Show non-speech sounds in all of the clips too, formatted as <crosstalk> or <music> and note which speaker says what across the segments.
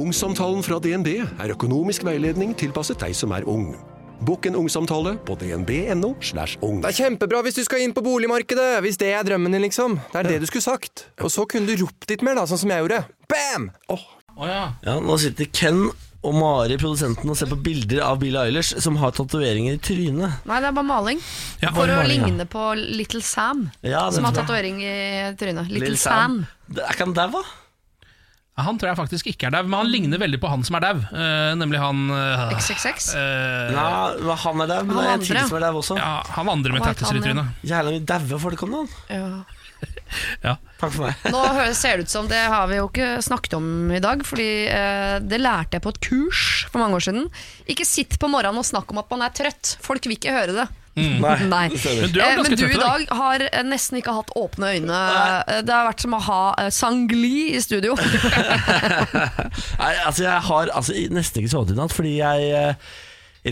Speaker 1: Ungsamtalen fra DNB er økonomisk veiledning tilpasset deg som er ung. Bokk en ungsamtale på dnb.no. slash ung.
Speaker 2: Det er kjempebra hvis du skal inn på boligmarkedet! Hvis det er drømmen din, liksom. Det er det du skulle sagt. Og så kunne du ropt litt mer, da, sånn som jeg gjorde. Bam!
Speaker 3: Ja, nå sitter Ken og Mari, produsenten, og ser på bilder av Billie Eilish, som har tatoveringer i trynet.
Speaker 4: Nei, det er bare maling.
Speaker 5: Ja,
Speaker 4: For
Speaker 5: bare
Speaker 4: å
Speaker 5: maling, ja.
Speaker 4: ligne på Little Sam,
Speaker 3: Ja,
Speaker 4: som har
Speaker 3: den-
Speaker 4: tatovering i trynet. Little,
Speaker 3: Lil
Speaker 4: Sam.
Speaker 3: Det Er ikke han daua?
Speaker 5: Han tror jeg faktisk ikke er dau, men han ligner veldig på han som er dau. eh, nemlig han eh,
Speaker 4: XXX.
Speaker 5: eh,
Speaker 3: Ja, men han er dau, men det er
Speaker 4: Han
Speaker 3: en
Speaker 4: andre.
Speaker 3: til som er dau også.
Speaker 5: ja, Han andre med
Speaker 4: Hva het han
Speaker 5: tattiser i
Speaker 4: igjen?
Speaker 5: trynet.
Speaker 3: Jævla mye daue folk om dagen.
Speaker 4: Ja.
Speaker 3: Takk for meg.
Speaker 4: Nå hø- ser det ut som, det har vi jo ikke snakket om i dag, fordi eh, det lærte jeg på et kurs for mange år siden. Ikke sitt på morgenen og snakk om at man er trøtt. Folk vil ikke høre det. <laughs> Nei.
Speaker 5: Men Mm. du er
Speaker 4: Eh,
Speaker 5: ganske
Speaker 4: Men du
Speaker 5: trøtt
Speaker 4: i
Speaker 5: i dag.
Speaker 4: dag har eh, nesten ikke hatt åpne øyne. Eh, Det har vært som å ha eh, sangli i
Speaker 5: <laughs>
Speaker 4: studio. <laughs>
Speaker 3: Nei, altså, jeg har altså, i- nesten ikke sovet i natt fordi jeg eh,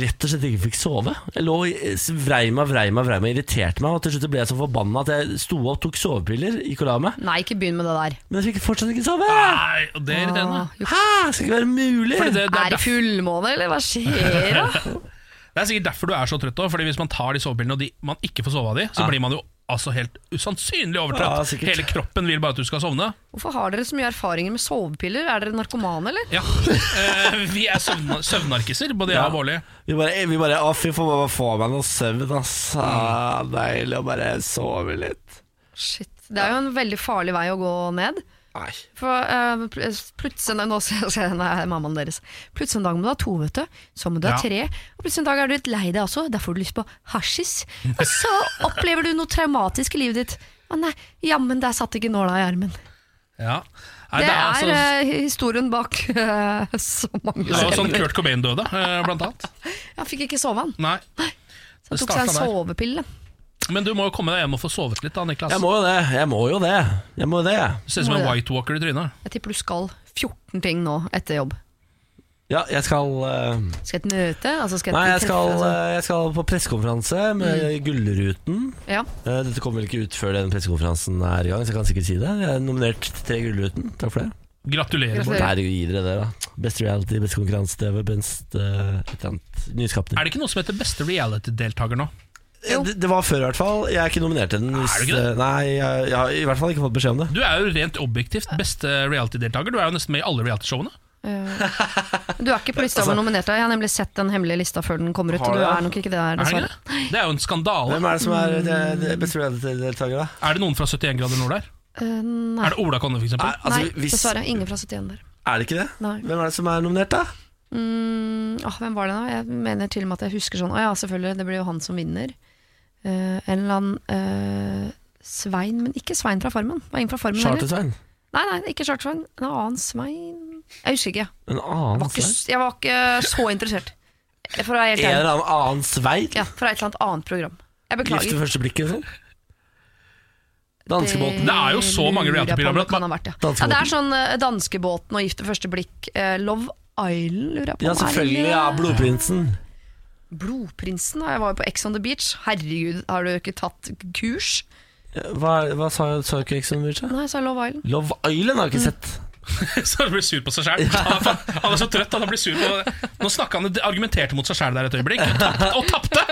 Speaker 3: rett og slett ikke fikk sove. Jeg lå i- s- vrei meg, vrei meg, vrei meg, irriterte meg, og til slutt ble jeg så forbanna at jeg sto opp, tok sovepiller, gikk og la meg.
Speaker 4: Nei, ikke begynn med det der.
Speaker 3: Men jeg fikk fortsatt ikke sove!
Speaker 5: Nei, og det er irriterende.
Speaker 4: Ah, jo.
Speaker 3: Hæ? Skal ikke være mulig!
Speaker 5: Fordi det, det,
Speaker 4: Er
Speaker 5: er
Speaker 4: det
Speaker 5: derf,
Speaker 4: fullmåne, eller hva skjer da?
Speaker 5: det er sikkert derfor du er så trøtt òg. Hvis man tar de sovepillene og de, man ikke får sove av de, så blir man jo altså helt usannsynlig
Speaker 3: Ja,
Speaker 5: overtrøtt.
Speaker 3: sikkert.
Speaker 5: Hele kroppen vil bare at du skal sovne.
Speaker 4: Hvorfor har dere så mye erfaringer med sovepiller? Er dere narkomane, eller?
Speaker 5: Ja, eh, Vi er søvn, søvnarkiser, både jeg
Speaker 3: Ja.
Speaker 5: og Bårli.
Speaker 3: Vi bare, vi bare Å, fy faen, bare få meg noe søvn, ass. Ah, Deilig å bare sove litt.
Speaker 4: Shit. Det er jo en veldig farlig vei å gå ned.
Speaker 3: Nei.
Speaker 4: For eh, pl- plutselig en dag- Nå ser ser jeg den her mammaen deres. Plutselig en dag må du ha to, vet du. Så må du ha
Speaker 5: Ja.
Speaker 4: tre. Og plutselig en dag er du litt lei deg også. Da får du lyst på hasjis. Og så opplever du noe traumatisk i livet ditt. Å nei, jammen der satt ikke nåla i armen.
Speaker 5: Ja. Nei,
Speaker 4: Det
Speaker 5: det er
Speaker 4: er
Speaker 5: altså
Speaker 4: eh, historien bak eh, så mange
Speaker 5: det var sånn
Speaker 4: scener.
Speaker 5: Kurt Cobain døde, eh, blant annet.
Speaker 4: Jeg fikk ikke sove han.
Speaker 5: Nei.
Speaker 4: Så
Speaker 5: Det
Speaker 4: han tok seg en
Speaker 5: starta der.
Speaker 4: sovepille.
Speaker 5: Men du må jo komme deg hjem og få sovet litt, da, Niklas.
Speaker 3: Jeg må jo det. Jeg må jo det. Jeg må det.
Speaker 5: Du ser ut som en White Walker i trynet.
Speaker 4: Jeg tipper du skal 14 ting nå etter jobb.
Speaker 3: Ja, jeg skal eh,
Speaker 4: Skal jeg til møte? Altså skal
Speaker 3: Nei,
Speaker 4: til
Speaker 3: jeg skal,
Speaker 4: treffe, altså.
Speaker 3: eh, jeg skal på pressekonferanse med
Speaker 5: Mm.
Speaker 3: Gullruten.
Speaker 4: ja.
Speaker 3: Eh, Dette kommer vel ikke ut før den pressekonferansen er i gang, så jeg kan sikkert si det. Jeg er nominert til Gullruten. Takk for det.
Speaker 5: Gratulerer. Bård.
Speaker 4: Gratulerer.
Speaker 3: Nei, gi dere det, da. Best reality, best konkurranse-TV, best eh, et eller annet nyskapning. Eh,
Speaker 5: Er det ikke noe som heter beste reality-deltaker nå?
Speaker 4: Jo.
Speaker 3: Det, det var før, i hvert fall. Jeg er ikke nominert til den.
Speaker 5: Er du
Speaker 3: hvis-
Speaker 5: ikke det?
Speaker 3: eh, Nei, jeg, jeg har i hvert fall ikke fått beskjed om det.
Speaker 5: Du er jo rent objektivt beste reality-deltaker. Du er jo nesten med i alle reality-showene.
Speaker 4: Eh, Du er ikke
Speaker 3: <laughs>
Speaker 4: på lista over nominerte. Jeg har nemlig sett den hemmelige lista før den kommer ut.
Speaker 3: Altså- Har
Speaker 4: Og du
Speaker 3: du det?
Speaker 4: er nok ikke det der,
Speaker 5: Er det ikke
Speaker 4: dessverre.
Speaker 5: det? Det er jo en skandale.
Speaker 3: Hvem er det som er det, det beste reality-deltaker, da?
Speaker 5: Er det noen fra 71 grader nord der?
Speaker 4: Eh, nei.
Speaker 5: Er det Ola Konne, for
Speaker 3: Er,
Speaker 5: eksempel?
Speaker 3: altså,
Speaker 4: nei,
Speaker 3: hvis,
Speaker 4: dessverre. Ingen fra 71 der.
Speaker 3: er det ikke det?
Speaker 4: Nei.
Speaker 3: Hvem er det som er nominert, da?
Speaker 4: Mm, åh, hvem var det da? Jeg mener til og med at jeg husker sånn Å ja, selvfølgelig, det blir jo han som vinner. Eh, en eller annen eh, Svein, men ikke Svein fra Farmen. Var ingen fra Farmen heller?
Speaker 3: Charter-Svein.
Speaker 4: Nei, nei, ikke Charter-Svein. En annen Svein Jeg husker ikke. jeg.
Speaker 3: En annen
Speaker 4: Var ikke,
Speaker 3: Svein?
Speaker 4: s- jeg var ikke så interessert. For å være
Speaker 3: <laughs>
Speaker 4: helt
Speaker 3: En eller
Speaker 4: ærlig.
Speaker 3: annen annen Svein?
Speaker 4: Ja, fra et eller annet annet program.
Speaker 3: Gift
Speaker 4: Jeg
Speaker 3: ved
Speaker 4: beklager.
Speaker 3: første blikket, eller? Danskebåten.
Speaker 5: Det er jo så mange
Speaker 4: Eh, lurer jeg på om
Speaker 5: reality-programmer
Speaker 4: det kan ha vært, ja.
Speaker 3: Danskebåten.
Speaker 4: ja, det er sånn eh, Danskebåten og Gift ved første blikk. eh, Love Island, lurer jeg på.
Speaker 3: Ja,
Speaker 4: om er
Speaker 3: selvfølgelig.
Speaker 4: det-
Speaker 3: Ja, Blodprinsen.
Speaker 4: Blodprinsen, da. jeg var jo på Ex on the Beach. Herregud, har du ikke tatt kurs?
Speaker 3: Hva, hva sa jeg? Sa ikke Exxon Virgin?
Speaker 4: Nei, sa Love Island.
Speaker 3: Love Island har jeg ikke
Speaker 4: Mm.
Speaker 3: sett.
Speaker 5: <laughs> Så han blir sur på seg sjæl. Han, er- han er så trøtt at han blir sur på Nå snakka han argumenterte mot seg sjæl der et øyeblikk, og tapte! Og tapte.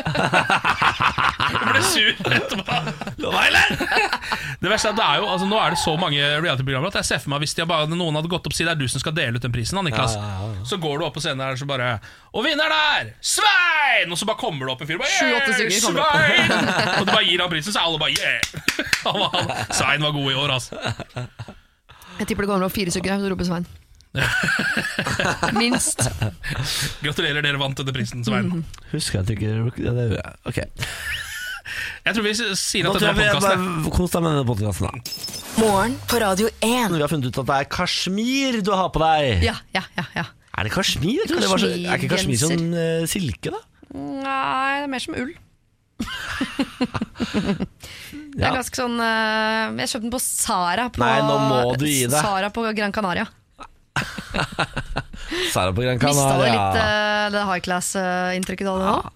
Speaker 5: Han ble sur etterpå. Love Island! Det verste er at det er jo, altså, nå er det så mange reality-programmer at jeg ser for meg hvis de har bare, noen hadde gått opp og sagt det er du som skal dele ut den prisen, da, Niklas.
Speaker 3: Ja, ja,
Speaker 5: Så går du opp på scenen der og så bare Og vinneren er Svein! Og så bare kommer det opp en fyr og bare
Speaker 4: Sju-åtte
Speaker 5: «Yeah,
Speaker 4: stykker kommer opp.
Speaker 5: Svein! Og du bare gir han prisen, så er alle bare yeah! <laughs> Han, var- han, Svein var god i år, altså.
Speaker 4: Jeg tipper det går an å fire stykker her, så roper
Speaker 3: <laughs>
Speaker 4: Svein. Minst.
Speaker 5: Gratulerer, dere vant denne prisen, Svein.
Speaker 3: Husker jeg at du ikke ja, det gjorde jeg. Ok.
Speaker 5: Jeg tror vi s- sier
Speaker 3: Nå
Speaker 5: at
Speaker 3: tror
Speaker 5: dette var
Speaker 3: jeg vi
Speaker 5: podkasten.
Speaker 3: bare Kos deg med denne podkasten,
Speaker 4: Mm.
Speaker 3: da.
Speaker 6: Morgen på Radio 1.
Speaker 3: Vi har funnet ut at det er kasjmir du har på deg.
Speaker 4: Ja, ja, ja. ja.
Speaker 3: Er det kasjmir? Jeg tror det var så, er ikke kasjmir
Speaker 4: Kasjmirgenser.
Speaker 3: som eh, silke, da?
Speaker 4: Nei, det er mer som ull. Det
Speaker 3: Ja.
Speaker 4: er ganske sånn eh, Jeg kjøpte den på Sara på,
Speaker 3: Nei, nå må du gi deg.
Speaker 4: Sara på Gran Canaria.
Speaker 3: Sara på Gran
Speaker 4: Mista det
Speaker 3: Canaria.
Speaker 4: litt eh, det high class-inntrykket du hadde nå?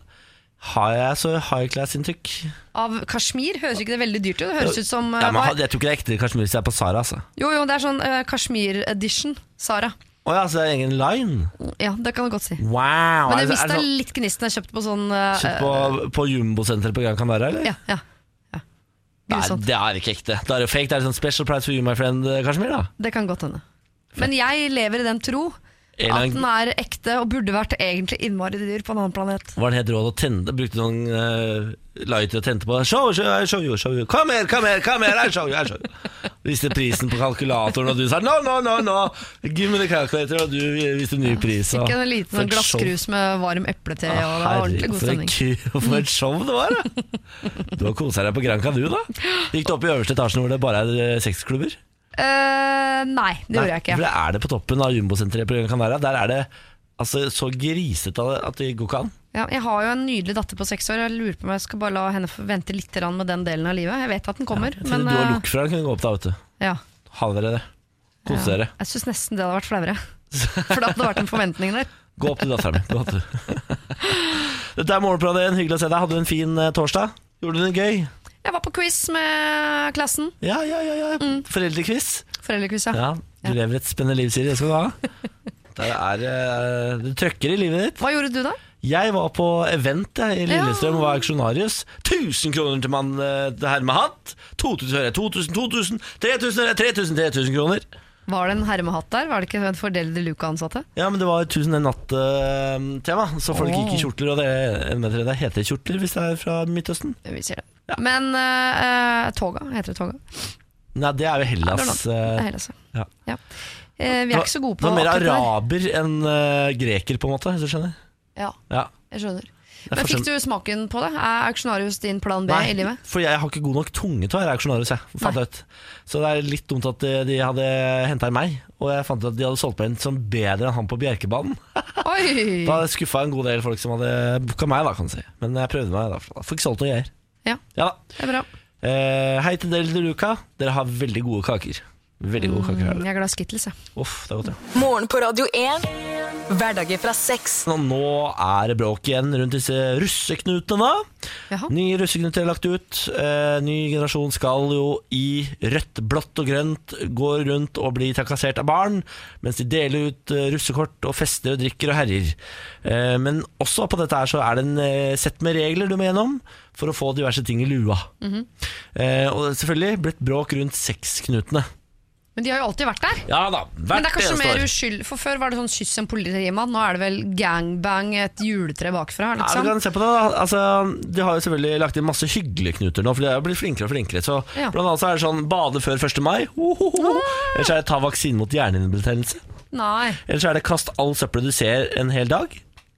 Speaker 3: Har jeg så high class-inntrykk?
Speaker 4: Av kasjmir høres ikke det veldig dyrt ut? Det høres ut som eh,
Speaker 3: Ja, men
Speaker 4: hva-
Speaker 3: jeg tror ikke det er ekte kasjmir hvis jeg er på Sara, altså.
Speaker 4: Jo, jo, det er sånn eh, Kashmir edition, Sara.
Speaker 3: Å ja, så det er egen line?
Speaker 4: Ja, det kan du godt si.
Speaker 3: Wow!
Speaker 4: Men
Speaker 3: Er
Speaker 4: jeg
Speaker 3: det- er
Speaker 4: mista
Speaker 3: det sånn-
Speaker 4: litt gnisten jeg kjøpte på sånn eh,
Speaker 3: Kjøpt på, på Jumbo-senteret på Gran Canaria, eller?
Speaker 4: Ja, sånn. ja, ja.
Speaker 3: Nei,
Speaker 4: Grusomt.
Speaker 3: det er ikke ekte. Da er det jo fake. Det er sånn special price for you, my friend, eh, Kashmir, da.
Speaker 4: Det kan godt hende. Men jeg lever i den tro
Speaker 3: En
Speaker 4: at
Speaker 3: gang
Speaker 4: den er ekte og burde vært egentlig innmari dyr på en annen planet.
Speaker 3: var den helt råd å tenne. Brukte noen eh, lighter og tente på. Show, show, I show you, show you. Kom her, kom her, kom her, I show you, I show you. Viste prisen på kalkulatoren, og du sa no, no, no, no. Give me the calculator, og du viste ny pris. og-
Speaker 4: Ikke en liten
Speaker 3: For
Speaker 4: sånn
Speaker 3: et show.
Speaker 4: glasskrus med varm eplete og det var
Speaker 3: Herregud,
Speaker 4: ordentlig god
Speaker 3: for, en
Speaker 4: stemning.
Speaker 3: ku- <laughs> for et show det var, da. Du har kosa deg på Granca, du, da? Gikk du opp i øverste etasjen hvor det bare er eh, sexklubber?
Speaker 4: Eh, nei, det gjorde jeg ikke.
Speaker 3: For det er det på toppen av jumbosenteret på Gran Canaria. Der er det altså, så grisete av det at det går ikke an.
Speaker 4: Ja, jeg har jo en nydelig datter på seks år. Jeg lurer på om jeg skal bare la henne få vente litt grann med den delen av livet. Jeg vet at den kommer,
Speaker 3: Jeg trodde
Speaker 4: men
Speaker 3: du og
Speaker 4: eh,
Speaker 3: Lokfra kunne gå opp der, vet du.
Speaker 4: ja.
Speaker 3: Ha dere det. Kos
Speaker 4: Ja.
Speaker 3: dere.
Speaker 4: Jeg syns nesten det hadde vært flauere. For da hadde det vært en forventning der.
Speaker 3: Gå opp til dattera mi. Gå opp
Speaker 4: <laughs>
Speaker 3: til- Dette er Morgenbladet, hyggelig å se deg. Hadde du en fin eh, torsdag? Gjorde du det gøy?
Speaker 4: Jeg var på quiz med klassen.
Speaker 3: Ja, ja, ja. ja.
Speaker 4: Mm.
Speaker 3: Foreldrekviss.
Speaker 4: Foreldrequiz, ja.
Speaker 3: Ja, du lever et spennende liv, Siri. Det skal du ha. Der er, eh, du trøkker i livet ditt.
Speaker 4: Hva gjorde du da?
Speaker 3: Jeg var på event jeg, i Lillestrøm og var auksjonarius. 1000 kroner til mann eh, til herre med hatt. 2000, hører jeg. 2000, 2000, 3000, 3000, 3000 kroner.
Speaker 4: Var det en herremehatt der? Var det ikke en fordel de luka-ansatte?
Speaker 3: Ja, men det var 1000 en natt-tema, så folk gikk i kjortler. Og det, en meter, det heter kjortler hvis det er fra Midtøsten.
Speaker 4: Vi sier det. Men eh, eh, toga heter det toga.
Speaker 3: Nei, det er jo
Speaker 4: Ja, det er
Speaker 3: Hellas.
Speaker 4: noe. Det er
Speaker 3: eh,
Speaker 4: Hellas,
Speaker 3: ja.
Speaker 4: ja. ja. Eh, vi er ikke så gode på
Speaker 3: Det var mer
Speaker 4: akkurat det der.
Speaker 3: araber enn eh, greker, på en måte. Hvis du skjønner.
Speaker 4: Ja,
Speaker 3: Ja.
Speaker 4: jeg skjønner.
Speaker 3: er
Speaker 4: Men
Speaker 3: forskjell-
Speaker 4: fikk du smaken på det? Er auksjonarius din plan B i livet?
Speaker 3: for jeg har ikke god nok tunge til å være auksjonarius. Jeg, fant
Speaker 4: Nei.
Speaker 3: jeg ut. Så det er litt dumt at eh, de- de hadde henta meg, og jeg fant ut at de hadde solgt meg inn som bedre enn han på Bjerkebanen.
Speaker 4: Oi!
Speaker 3: Da skuffa en god del folk som hadde booka meg, da, kan du si. Men jeg prøvde meg, da. Fikk solgt noen greier.
Speaker 4: Ja,
Speaker 3: Ja da.
Speaker 4: det er bra.
Speaker 3: Eh, hei til dere til Luca. Dere har veldig gode kaker. Veldig gode kaker er
Speaker 4: Jeg
Speaker 3: det.
Speaker 4: er glad i Skittles, jeg.
Speaker 3: Uff, det er godt, ja.
Speaker 6: Morgen på Radio 1. Hverdager fra seks.
Speaker 3: Nå- Nå er det bråk igjen rundt disse russeknutene, da.
Speaker 4: Jaha.
Speaker 3: Nye russeknuter er lagt ut. Eh, ny generasjon skal jo i rødt, blått og grønt gå rundt og bli trakassert av barn, mens de deler ut eh, russekort og fester og drikker og herjer. Eh, men også på dette her så er det en eh, sett med regler du må gjennom for å få diverse ting i lua.
Speaker 4: Mhm.
Speaker 3: eh, og det er selvfølgelig blitt bråk rundt sexknutene.
Speaker 4: Men de har jo alltid vært der.
Speaker 3: Ja da,
Speaker 4: Men
Speaker 3: hvert
Speaker 4: det er kanskje
Speaker 3: eneste år.
Speaker 4: mer uskyld For Før var det sånn kyss en politimann, nå er det vel gangbang et juletre bakfra.
Speaker 3: Ja, du
Speaker 4: Liksom.
Speaker 3: kan se på det da altså, De har jo selvfølgelig lagt inn masse hyggelige knuter nå For de har jo blitt flinkere og flinkere Så
Speaker 4: Ja. Ah!
Speaker 3: blant annet så er det sånn Bade før 1. mai Ohoho. Ellers er det ta vaksine mot hjerneinnbetennelse
Speaker 4: Nei.
Speaker 3: Ellers er det kast all søppel du ser en hel dag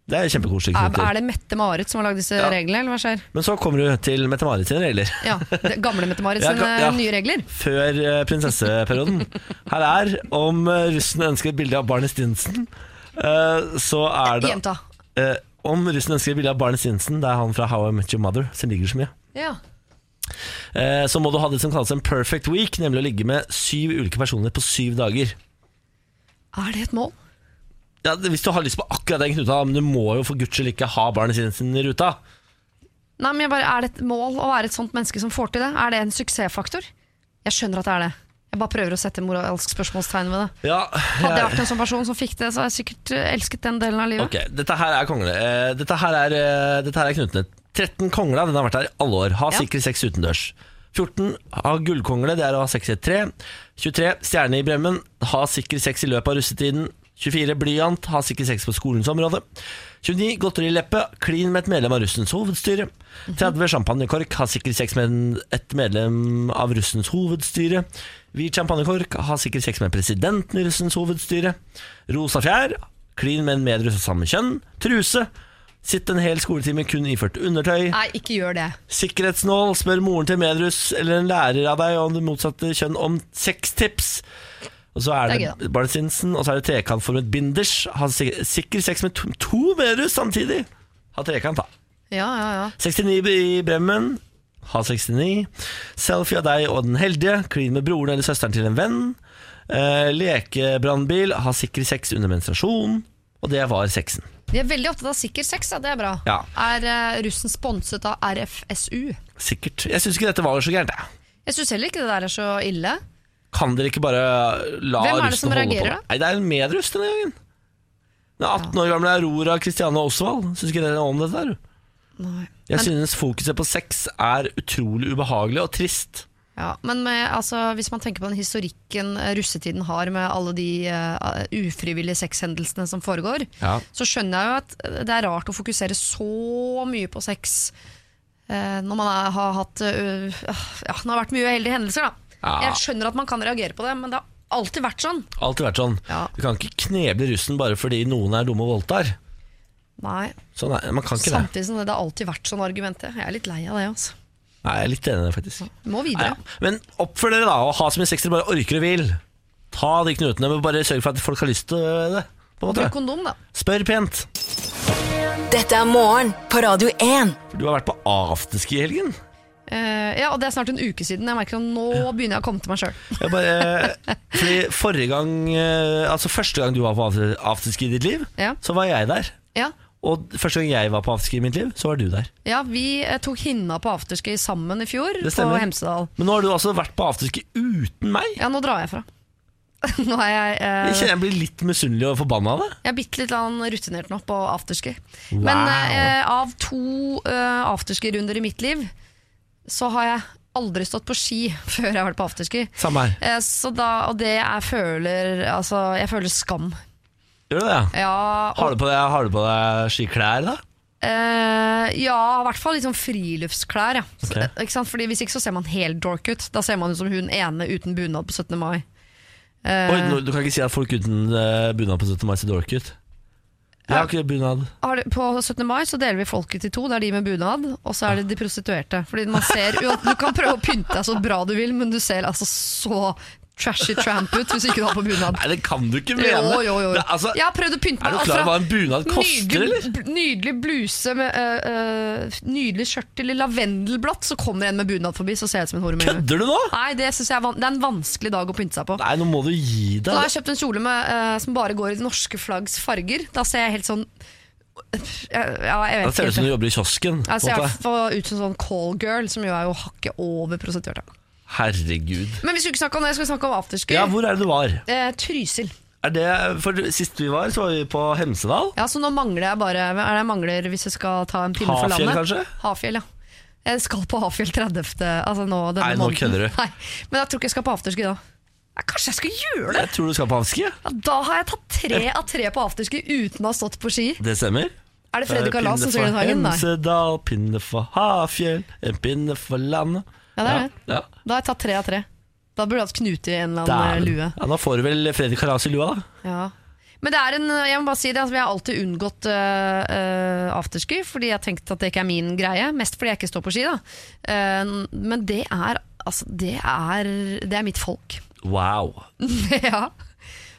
Speaker 3: Det er kjempekoselig
Speaker 4: Er, er
Speaker 3: knuter
Speaker 4: det Mette-Marit som har lagd disse
Speaker 3: Ja.
Speaker 4: reglene, eller hva skjer?
Speaker 3: Men så kommer du til Mette-Marit sine regler
Speaker 4: Ja, det, Gamle Mette-Marit
Speaker 3: Ja,
Speaker 4: sine
Speaker 3: ga- ja.
Speaker 4: nye regler.
Speaker 3: Før eh, prinsesseperioden Her er om eh, russen ønsker et bilde av Barney Stinsen eh, Så er det
Speaker 4: Jenta.
Speaker 3: eh, Om russen ønsker et bilde av Barney Stinsen Det er han fra How I Met Your Mother Som ligger så mye
Speaker 4: Ja.
Speaker 3: Eh, så må du ha det som kalles en perfect week, nemlig å ligge med syv ulike personer på syv dager.
Speaker 4: Er det et mål?
Speaker 3: Ja, det- hvis du har lyst på akkurat den knuta, men du må jo for guds skyld ikke ha barnet sitt sin i ruta.
Speaker 4: Nei, men jeg bare, Er det et mål å være et sånt menneske som får til det? Er det en suksessfaktor? Jeg skjønner at det er det. Jeg bare prøver å sette moralsk spørsmålstegn ved det.
Speaker 3: Ja,
Speaker 4: Hadde jeg vært en sånn person som fikk det, så hadde jeg sikkert eh, elsket den delen av livet.
Speaker 3: Ok, dette her er konglene. Eh, dette, her er, eh, dette her er knutene. 13 kongla, den har vært her i alle år. Ha
Speaker 4: Ja.
Speaker 3: sikre sex utendørs. 14. Ha gullkongle, det er å ha sex i et tre. 23. Stjerne i bremmen. Ha sikker sex i løpet av russetiden. 24. Blyant. Ha sikker sex på skolens område. 29. Godterileppe. Klin med et medlem av russens hovedstyre. 30. Champagnekork. Ha sikker sex med en- et medlem av russens hovedstyre. Hvit champagnekork. Ha sikker sex med presidenten i russens hovedstyre. Rosa fjær. Klin med en medruss av samme kjønn. Truse. Sitt en hel skoletime kun iført undertøy.
Speaker 4: Nei, ikke gjør det.
Speaker 3: Sikkerhetsnål. Spør moren til medruss eller en lærer av deg om det motsatte kjønn om sextips. Og så er
Speaker 4: Det er gøy,
Speaker 3: det Barnesinsen, og så er det trekantformet binders. Ha sik- sikker sex med to, to medruss samtidig. Ha trekant, da.
Speaker 4: Ja, ja, ja.
Speaker 3: 69 i Bremmen. Ha 69. Selfie av deg og den heldige. Klin med broren eller søsteren til en venn. Eh, Lekebrannbil. Ha sikker sex under menstruasjon. Og det var sexen.
Speaker 4: De er veldig opptatt av sikker sex, da. det er bra.
Speaker 3: Ja.
Speaker 4: Er eh, russen sponset av RFSU?
Speaker 3: Sikkert. Jeg syns ikke dette var så gærent. jeg.
Speaker 4: Jeg syns heller ikke det der er så ille.
Speaker 3: Kan dere ikke bare la
Speaker 4: Hvem er det
Speaker 3: russen
Speaker 4: som
Speaker 3: holde på?
Speaker 4: reagerer, da?
Speaker 3: Nei, det er en medruss denne gangen. Den 18 år gamle Aurora Christiane Osvald. Syns ikke dere noe om dette? her?
Speaker 4: Nei.
Speaker 3: Jeg
Speaker 4: Men-
Speaker 3: synes fokuset på sex er utrolig ubehagelig og trist.
Speaker 4: Ja, men med, altså, hvis man tenker på den historikken eh, russetiden har med alle de eh, ufrivillige sexhendelsene som foregår,
Speaker 3: Ja.
Speaker 4: så skjønner jeg jo at eh, det er rart å fokusere så mye på sex eh, når man er, har hatt eh, ja, det har vært mye uheldige hendelser. Da.
Speaker 3: Ja.
Speaker 4: Jeg skjønner at man kan reagere på det, men det har alltid vært sånn.
Speaker 3: Alltid vært sånn.
Speaker 4: Ja.
Speaker 3: Du kan ikke kneble russen bare fordi noen er dumme og voldtar.
Speaker 4: Nei,
Speaker 3: Sånn er, man kan ikke det.
Speaker 4: Samtidig som det, det har alltid vært sånn argumentet. Jeg er litt lei av det. Altså.
Speaker 3: Nei, jeg er litt enig i det, faktisk.
Speaker 4: Må
Speaker 3: Nei,
Speaker 4: videre.
Speaker 3: ja. Men oppfør dere, da, og ha så mye sex dere bare orker og vil. Ta de knutene, men bare sørg for at folk har lyst til det. På en
Speaker 4: Bruk
Speaker 3: måte.
Speaker 4: kondom, da.
Speaker 3: Spør pent.
Speaker 6: Dette er morgen på Radio 1.
Speaker 3: For du har vært på afterski i helgen.
Speaker 4: Eh, ja, og det er snart en uke siden. Jeg merker at nå begynner jeg å komme til meg sjøl.
Speaker 3: Jeg bare, eh, fordi forrige gang eh, Altså Første gang du var på after- afterski i ditt liv,
Speaker 4: Ja.
Speaker 3: så var jeg der.
Speaker 4: Ja.
Speaker 3: Og første gang jeg var på afterski i mitt liv, så var du der.
Speaker 4: Ja, vi eh, tok hinna på afterski sammen i fjor
Speaker 3: Det
Speaker 4: på
Speaker 3: stemmer.
Speaker 4: Hemsedal.
Speaker 3: Men nå har du altså vært på afterski uten meg.
Speaker 4: Ja, nå drar jeg fra. <laughs> nå er jeg,
Speaker 3: Jeg
Speaker 4: eh,
Speaker 3: kjenner jeg blir litt misunnelig og forbanna av det.
Speaker 4: jeg er bitte litt grann rutinert nå på afterski.
Speaker 3: Wow.
Speaker 4: Men eh, av to eh, afterskirunder i mitt liv, så har jeg aldri stått på ski <laughs> før jeg har vært på afterski.
Speaker 3: Samme her.
Speaker 4: Eh, så da, og det jeg føler Altså, jeg føler skam.
Speaker 3: Gjør du det? ja?
Speaker 4: Ja, og,
Speaker 3: Har du på deg, har du på deg skiklær, da?
Speaker 4: eh, ja i hvert fall litt sånn friluftsklær. Ja. Så,
Speaker 3: Ok.
Speaker 4: ikke sant? Fordi Hvis ikke så ser man helt dork ut. Da ser man ut som hun ene uten bunad på 17. mai. Eh,
Speaker 3: Oi, nå- du kan ikke si at folk uten eh, bunad på 17. mai ser dork ut. Jeg har ikke bunad.
Speaker 4: har det, på 17. mai så deler vi folket i to. Det er de med bunad, og så er det de prostituerte. Fordi man ser, jo, Du kan prøve å pynte deg så bra du vil, men du ser altså så trashy tramp ut hvis ikke du har på bunad.
Speaker 3: Nei, det kan du ikke mene!
Speaker 4: Jo, jo, jo.
Speaker 3: Det, er altså,
Speaker 4: jeg har prøvd å pynte
Speaker 3: Er
Speaker 4: meg.
Speaker 3: du
Speaker 4: alt
Speaker 3: klar
Speaker 4: fra
Speaker 3: over hva en bunad koster, eller?
Speaker 4: nydelig, bl- nydelig bluse med øh, øh, nydelig skjørt eller lavendelblått, så kommer en med bunad forbi, så ser jeg ut som en horemue.
Speaker 3: Kødder du nå?!
Speaker 4: Nei, det synes jeg er, van det er en vanskelig dag å pynte seg på.
Speaker 3: Nei, nå må du gi
Speaker 4: Så da har
Speaker 3: deg.
Speaker 4: jeg kjøpt en kjole med, eh, som bare går i det norske flaggs farger. Da ser jeg helt sånn Ja, jeg
Speaker 3: Da ser det
Speaker 4: vet ikke.
Speaker 3: ut som du
Speaker 4: helt.
Speaker 3: jobber i kiosken. på
Speaker 4: Jeg ser
Speaker 3: en
Speaker 4: i
Speaker 3: måte.
Speaker 4: hvert fall ut som sånn call girl, som jo er jo hakket over prostituerte.
Speaker 3: Herregud.
Speaker 4: Men vi skulle ikke snakke om det, jeg skulle snakke om afterski.
Speaker 3: Ja, hvor er det du var?
Speaker 4: eh, Trysil.
Speaker 3: Er det, for Sist vi var, så var vi på Hemsedal.
Speaker 4: Ja, Så nå mangler jeg bare Hva er det jeg mangler hvis jeg skal ta en time for
Speaker 3: Hafjell,
Speaker 4: landet?
Speaker 3: kanskje?
Speaker 4: Hafjell, ja. Jeg skal på Hafjell 30. Altså nå denne
Speaker 3: Nei, nå
Speaker 4: måneden.
Speaker 3: kødder du.
Speaker 4: Nei, men jeg tror ikke jeg skal på afterski da. Nei, kanskje jeg skal gjøre det?
Speaker 3: Jeg tror du skal på afterski. ja.
Speaker 4: Ja, da har jeg tatt tre av tre på afterski uten å ha stått på ski.
Speaker 3: Det stemmer.
Speaker 4: Er det Fredrik
Speaker 3: Eh,
Speaker 4: Alas som synger den
Speaker 3: Pinne
Speaker 4: sangen?
Speaker 3: for
Speaker 4: Nei.
Speaker 3: Hemsedal, pinne for Hafjell, en pinne for landet.
Speaker 4: Ja, det er det.
Speaker 3: Ja, ja.
Speaker 4: Da har jeg tatt tre av tre. Da burde jeg hatt knute i en eller annen
Speaker 3: Dæven.
Speaker 4: lue.
Speaker 3: Ja, da får du vel Fredrik Kalas i lua, da.
Speaker 4: Ja. Men det er en, jeg må bare si det, altså, jeg har alltid unngått øh, øh, afterski, fordi jeg har tenkt at det ikke er min greie. Mest fordi jeg ikke står på ski, da. Eh, men det er, altså, det er, det er mitt folk. <laughs>
Speaker 3: Wow.
Speaker 4: ja.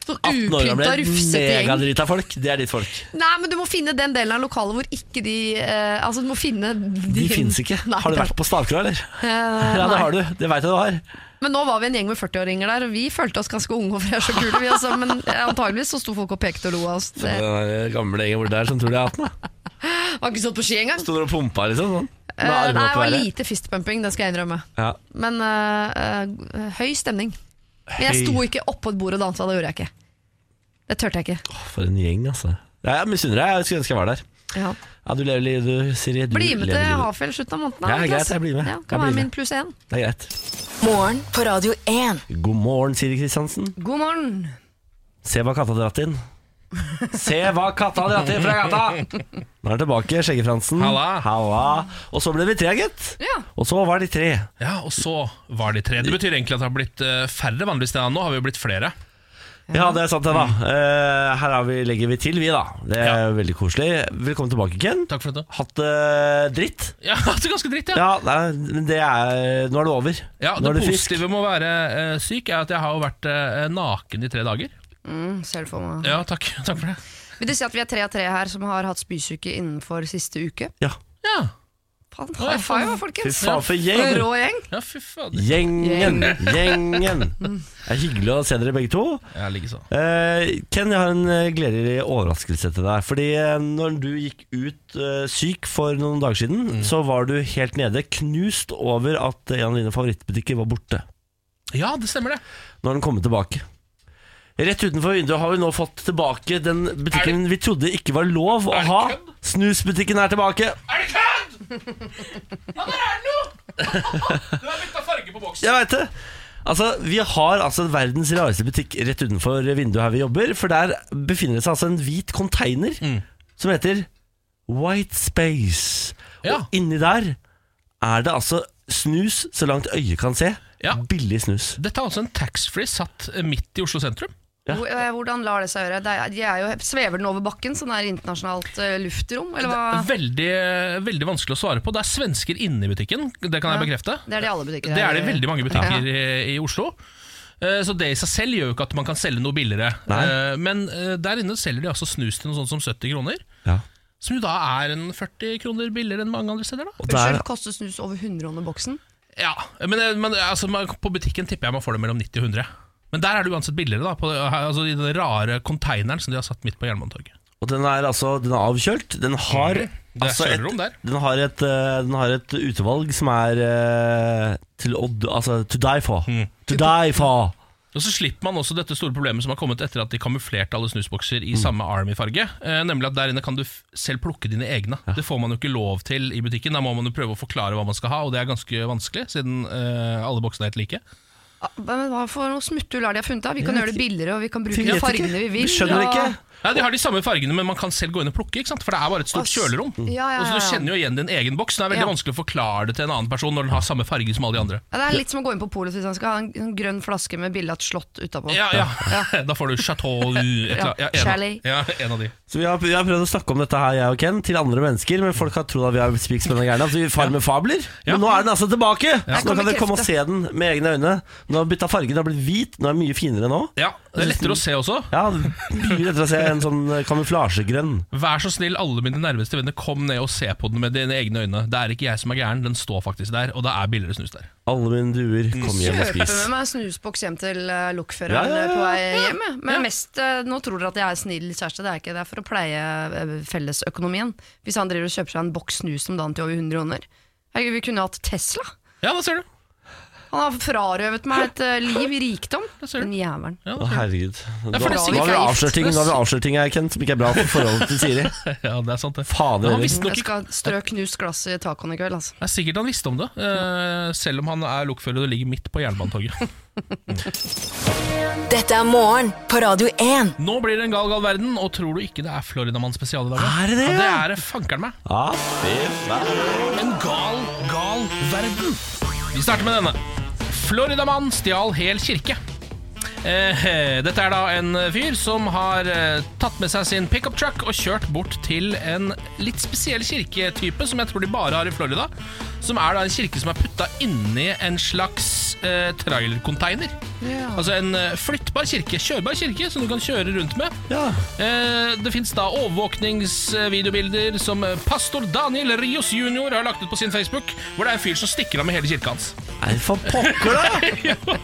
Speaker 4: Sånn
Speaker 3: 18 år gamle,
Speaker 4: upynta, rufsete gjeng.
Speaker 3: megadrita folk. Det er ditt folk.
Speaker 4: Nei, men du må finne den delen av lokalet hvor ikke de eh, Altså, du må finne
Speaker 3: De fins ikke.
Speaker 4: Nei,
Speaker 3: Har du
Speaker 4: det-
Speaker 3: vært på Stavkra, eller?
Speaker 4: Eh,
Speaker 3: Ja, det
Speaker 4: nei.
Speaker 3: har du. Det veit jeg du har.
Speaker 4: Men nå var vi en gjeng med 40-åringer der, og vi følte oss ganske unge og freshe og kule. Vi, altså, men antageligvis så sto folk og pekte og lo av oss. Det
Speaker 3: Den der gamle gjengen hvor det er som tror de er 18. da.
Speaker 4: var ikke stått på ski engang.
Speaker 3: Sto der og pumpa, liksom. sånn. Med
Speaker 4: Eh,
Speaker 3: armene
Speaker 4: nei,
Speaker 3: opp i
Speaker 4: det var
Speaker 3: været.
Speaker 4: lite fistpumping, det skal jeg innrømme.
Speaker 3: Ja.
Speaker 4: Men eh, eh, høy stemning. Men
Speaker 3: Høy.
Speaker 4: jeg sto ikke oppå et bord og dansa, det gjorde jeg ikke. Det turte jeg ikke.
Speaker 3: Åh, For en gjeng, altså. Ja, jeg misunner deg. Jeg skulle ønske jeg var der.
Speaker 4: Ja.
Speaker 3: Ja, Du lever livet, du, Siri. Du
Speaker 4: Bli med til
Speaker 3: lever livet.
Speaker 4: Hafjell slutten av måneden.
Speaker 3: Ja,
Speaker 4: Niklas.
Speaker 3: greit, jeg blir med.
Speaker 4: Ja,
Speaker 3: Jeg
Speaker 4: kan være
Speaker 3: blir med.
Speaker 4: min pluss én.
Speaker 3: Det er greit.
Speaker 6: Morgen på Radio 1.
Speaker 3: God morgen, Siri Kristiansen.
Speaker 4: God morgen.
Speaker 3: Se hva katta har dratt inn. Se hva katta har dratt inn fra gata! Nå er han tilbake, Skjeggefransen.
Speaker 5: Halla.
Speaker 3: Halla. Og så ble vi tre, gitt.
Speaker 4: Ja.
Speaker 3: Og så var de tre.
Speaker 5: Ja, og så var de tre. Det betyr egentlig at det har blitt eh, færre vanligvis. Ja. Nå har vi jo blitt flere.
Speaker 3: Ja, det er sant, det, da.
Speaker 4: Mm.
Speaker 3: Eh, her har vi, legger vi til, vi, da. Det er
Speaker 5: Ja.
Speaker 3: veldig koselig. Velkommen tilbake, Ken.
Speaker 5: Takk for dette.
Speaker 3: Hatt det dritt.
Speaker 5: Ja, <laughs> det er ganske dritt, ja.
Speaker 3: Ja, nei, men det er Nå er det over.
Speaker 5: Ja,
Speaker 3: nå
Speaker 5: det
Speaker 3: er du frisk.
Speaker 5: positive med å være eh, syk er at jeg har jo vært eh, naken i tre dager.
Speaker 7: Mm, Selv for meg.
Speaker 5: Ja, takk, <laughs> takk for det.
Speaker 7: Vil det si at vi er tre av tre her som har hatt spysyke innenfor siste uke?
Speaker 3: Ja.
Speaker 5: Ja,
Speaker 7: Faen, high five,
Speaker 3: Fy
Speaker 7: folkens!
Speaker 3: faen, for
Speaker 7: For en
Speaker 3: gjeng!
Speaker 7: rå gjeng.
Speaker 5: ja fy fader.
Speaker 3: Gjengen, gjengen. Det er hyggelig å se dere begge to.
Speaker 5: Jeg ligger sånn.
Speaker 3: Eh, Ken, jeg har en eh, gledelig overraskelse til deg. Fordi eh, når du gikk ut eh, syk for noen dager siden,
Speaker 5: Mm.
Speaker 3: så var du helt nede, knust over at en av dine favorittbutikker var borte.
Speaker 5: Ja, det stemmer det.
Speaker 3: Nå har den kommet tilbake. Rett utenfor vinduet har vi nå fått tilbake den butikken vi trodde ikke var lov å
Speaker 5: Er det
Speaker 3: ha.
Speaker 5: kødd?
Speaker 3: Snusbutikken er tilbake.
Speaker 5: Er det kødd?! Ja, der er den jo! Den har bytta farge på boksen.
Speaker 3: Jeg veit det. Altså, Vi har altså verdens rareste butikk rett utenfor vinduet her vi jobber. For der befinner det seg altså en hvit konteiner
Speaker 5: Mm.
Speaker 3: som heter White Space.
Speaker 5: Ja.
Speaker 3: Og inni der er det altså snus så langt øyet kan se.
Speaker 5: Ja.
Speaker 3: Billig snus.
Speaker 5: Dette er altså en taxfree satt eh, midt i Oslo sentrum.
Speaker 7: Hvor- eh, Hvordan lar det seg gjøre? Det er, de er jo, svever den over bakken, sånn er internasjonalt eh, luftrom, eller hva?
Speaker 5: Veldig, eh, veldig vanskelig å svare på. Det er svensker inne i butikken, det kan jeg
Speaker 7: Ja.
Speaker 5: bekrefte.
Speaker 7: Det er det i alle butikker.
Speaker 5: Det
Speaker 7: her.
Speaker 5: er det i veldig mange butikker i, i Oslo. Eh, Så det i seg selv gjør jo ikke at man kan selge noe billigere.
Speaker 3: Nei.
Speaker 5: Eh, Men eh, der inne selger de altså snus til noe sånt som 70 kroner.
Speaker 3: Ja.
Speaker 5: Som jo da er en 40 kroner billigere enn mange andre steder. da
Speaker 3: Og der,
Speaker 7: Unnskyld, koster snus over 100 kroner boksen?
Speaker 5: Ja, Men, eh, men altså, man, på butikken tipper jeg man får det mellom 90 og 100. Men der er det uansett billigere, da. På, her- altså, I den rare konteineren som de har satt midt på Jernbanetorget.
Speaker 3: og den er altså den er avkjølt. Den har
Speaker 5: Mhm. Det er
Speaker 3: altså et,
Speaker 5: serverom der.
Speaker 3: den har, et, eh, den har et utvalg som er eh, til å Altså to die for.
Speaker 5: Mhm.
Speaker 3: To die for!
Speaker 5: Og så slipper man også dette store problemet som har kommet etter at de kamuflerte alle snusbokser i samme Army-farge. Eh, nemlig at der inne kan du f selv plukke dine egne. Det får man jo ikke lov til i butikken. Da må man jo prøve å forklare hva man skal ha, og det er ganske vanskelig, siden eh, alle boksene er helt like.
Speaker 7: Ah, Men hva for noe smutthull er det de har funnet? da? Vi kan
Speaker 3: Jeg
Speaker 7: gjøre det
Speaker 3: vet
Speaker 7: billigere, og vi kan bruke
Speaker 3: Vi
Speaker 7: de
Speaker 3: vet ikke.
Speaker 7: fargene vi vil.
Speaker 3: Vi skjønner
Speaker 7: og-
Speaker 3: ikke.
Speaker 5: Ja, de har de samme fargene, men man kan selv gå inn og plukke, ikke sant? for det er bare et stort
Speaker 7: Ass.
Speaker 5: kjølerom.
Speaker 7: Ja, ja,
Speaker 5: Og så
Speaker 7: ja,
Speaker 5: Du
Speaker 7: ja.
Speaker 5: kjenner jo igjen din egen boks. Det er veldig
Speaker 7: Ja.
Speaker 5: vanskelig å forklare det til en annen person når den har samme farge som alle de andre.
Speaker 7: Ja, det er litt som å gå inn på polet hvis man skal ha en, en grønn flaske med bilde av et slott utapå.
Speaker 5: Ja, ja. <laughs> Da får du Chateau et eller annet. en av-
Speaker 7: Chalet.
Speaker 5: Ja, en av de.
Speaker 3: Så vi har, vi har prøvd å snakke om dette her, jeg og Ken, til andre mennesker, men folk har trodd at vi har spik spennende gærne, at vi far med fabler.
Speaker 5: Ja.
Speaker 3: Men nå er den altså tilbake! Så nå
Speaker 7: kan
Speaker 3: kan dere komme og se
Speaker 7: bekrefte.
Speaker 3: den med egne øyne. Den har bytta farge, den har blitt hvit, den er mye finere nå.
Speaker 5: Ja, Det er lettere å se også.
Speaker 3: Ja, mye lettere å se en sånn eh, kamuflasjegrønn.
Speaker 5: Vær så snill, alle mine nærmeste venner, kom ned og se på den med dine egne øyne. Det er ikke jeg som er gæren, den står faktisk der, og det er billigere snus der.
Speaker 3: Alle mine duer, kom hjem og
Speaker 7: Kjøper
Speaker 3: spis.
Speaker 7: med meg snusboks hjem til uh, lokføreren
Speaker 3: Ja, ja, ja,
Speaker 7: eh, på vei hjem. jeg. Men mest, eh, nå tror dere at jeg er snill kjæreste, det er ikke det. er for å pleie eh, fellesøkonomien. Hvis han driver og kjøper seg en boks snus om dagen til over 100 kroner. Herregud, vi kunne hatt Tesla.
Speaker 5: Ja, da ser du.
Speaker 7: Han har frarøvet meg et eh, liv i rikdom.
Speaker 5: ser du.
Speaker 7: Den jævelen.
Speaker 5: Ja,
Speaker 3: Å,
Speaker 5: da ser du.
Speaker 3: herregud. Nå nå
Speaker 5: for det er
Speaker 3: har vi
Speaker 7: sikkert-
Speaker 3: avslørt ting, nå har vi avslørt ting her, Ken, som ikke er bra for forholdet til Siri.
Speaker 5: ja det er sant, det.
Speaker 3: Fader
Speaker 5: Men han
Speaker 3: heller.
Speaker 5: visste nok
Speaker 7: Jeg
Speaker 5: ikke
Speaker 7: skal strø knust glass i tacoen i kveld, altså.
Speaker 5: Det er sikkert han visste om det, eh, selv om han er lokfører og ligger midt på Jernbanetorget. <laughs>
Speaker 6: Dette er morgen på Radio 1.
Speaker 5: Nå blir det en gal, gal verden, og tror du ikke det er Floridamann spesial i dag? ja?
Speaker 3: Er det det,
Speaker 5: Ja, det
Speaker 3: ja?
Speaker 5: er det fankeren meg.
Speaker 3: Ja, fy faen.
Speaker 5: En gal, gal verden. Vi starter med denne. Floridamann stjal hel kirke. Eh, eh, dette er da en fyr som har eh, tatt med seg sin pickup truck og kjørt bort til en litt spesiell kirketype som jeg tror de bare har i Florida. Som er da en kirke som er putta inni en slags eh, trailercontainer. Altså en eh, flyttbar kirke, kjørbar kirke, som du kan kjøre rundt med.
Speaker 3: Ja.
Speaker 5: Eh, Det finnes da overvåkningsvideobilder som eh, pastor Daniel Rios jr. har lagt ut på sin Facebook, hvor det er en fyr som stikker av med hele kirka hans. <laughs>
Speaker 3: Nei, for pokker, da!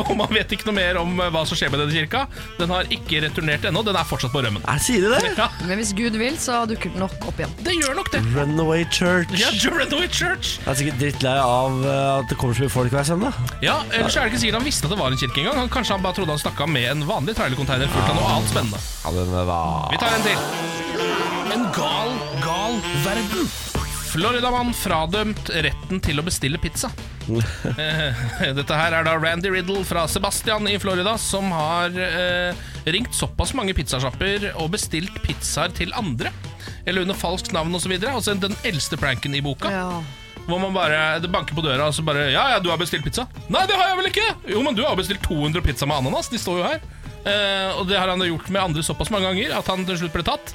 Speaker 5: Og man vet ikke noe mer om eh, hva som skjer med denne kirka. Den har ikke returnert ennå, den er fortsatt på rømmen.
Speaker 3: Er Siri det?
Speaker 5: Ja,
Speaker 7: Men hvis Gud vil, så dukker den nok opp igjen.
Speaker 5: det gjør nok det.
Speaker 3: Runaway Church.
Speaker 5: Ja, Jerenoi Church.
Speaker 3: Jeg er sikkert drittlei av eh, at det kommer så mye folk hver søndag.
Speaker 5: Ja, Ellers er det ikke sikkert han visste at det var en kirke engang. Han- Kanskje han bare trodde han stakk av med en vanlig trailercontainer fullt av noe annet spennende.
Speaker 3: Ja, den var...
Speaker 5: Vi tar en til. En gal, gal verden. Floridamann fradømt retten til å bestille
Speaker 3: <laughs>
Speaker 5: pizza. Eh, Dette her er da Randy Riddle fra Sebastian i Florida som har eh, ringt såpass mange pizzasjapper og bestilt pizzaer til andre. Eller under falskt navn osv. Altså den eldste pranken i boka.
Speaker 7: Ja.
Speaker 5: Hvor man bare det banker på døra og så bare Ja, ja, du har bestilt pizza. Nei, det har jeg vel ikke! Jo, men du har jo bestilt 200 pizza med ananas. De står jo her. Eh, og det har han gjort med andre såpass mange ganger at han til slutt ble tatt.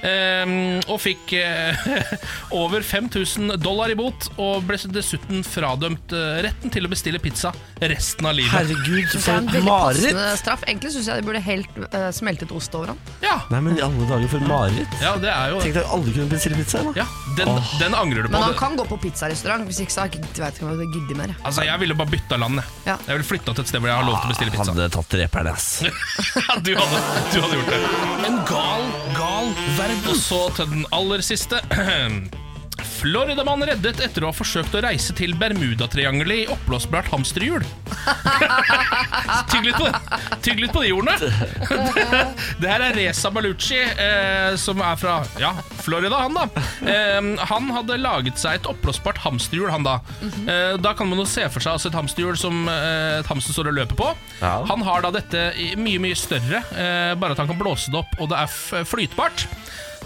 Speaker 5: Eh, og fikk eh, <laughs> over 5000 dollar i bot, og ble dessuten fradømt eh, retten til å bestille pizza resten av livet.
Speaker 3: Herregud,
Speaker 7: Det
Speaker 3: for
Speaker 7: er en
Speaker 3: et
Speaker 7: veldig
Speaker 3: mareritt!
Speaker 7: passende straff. Egentlig syns jeg de burde helt eh, smeltet ost over ham.
Speaker 5: Ja,
Speaker 3: Nei, men i alle dager, for et mareritt.
Speaker 5: ja, det er jo
Speaker 3: Tenk deg aldri kunne bestille pizza. Da.
Speaker 5: ja, den, den angrer du på.
Speaker 7: Men han
Speaker 5: Det-
Speaker 7: kan gå på pizzarestaurant, hvis ikke så har jeg ikke- vet ikke om jeg gidder mer. jeg.
Speaker 5: Altså, Jeg ville bare bytta land. jeg.
Speaker 7: Ja. Ah,
Speaker 5: Jeg ville flytta til et sted hvor jeg har lov til å bestille pizza.
Speaker 3: Hadde tatt reperen, ass.
Speaker 5: Ja, du hadde, du hadde gjort <clears throat> det. En gal, gal verden. Og så til den aller siste. Floridamann reddet etter å ha forsøkt å reise til Bermudatriangelet i oppblåsbart hamsterhjul. Tygg litt på det. Tygg litt på de ordene. <laughs> Det her er Reza Balucci, eh, som er fra ja, Florida, han da. Eh, han hadde laget seg et oppblåsbart hamsterhjul, han da. eh, da kan man jo se for seg altså, et hamsterhjul som eh, et hamster står og løper på.
Speaker 3: Ja.
Speaker 5: Han har da dette i- mye, mye større, eh, bare at han kan blåse det opp, og det er f flytbart.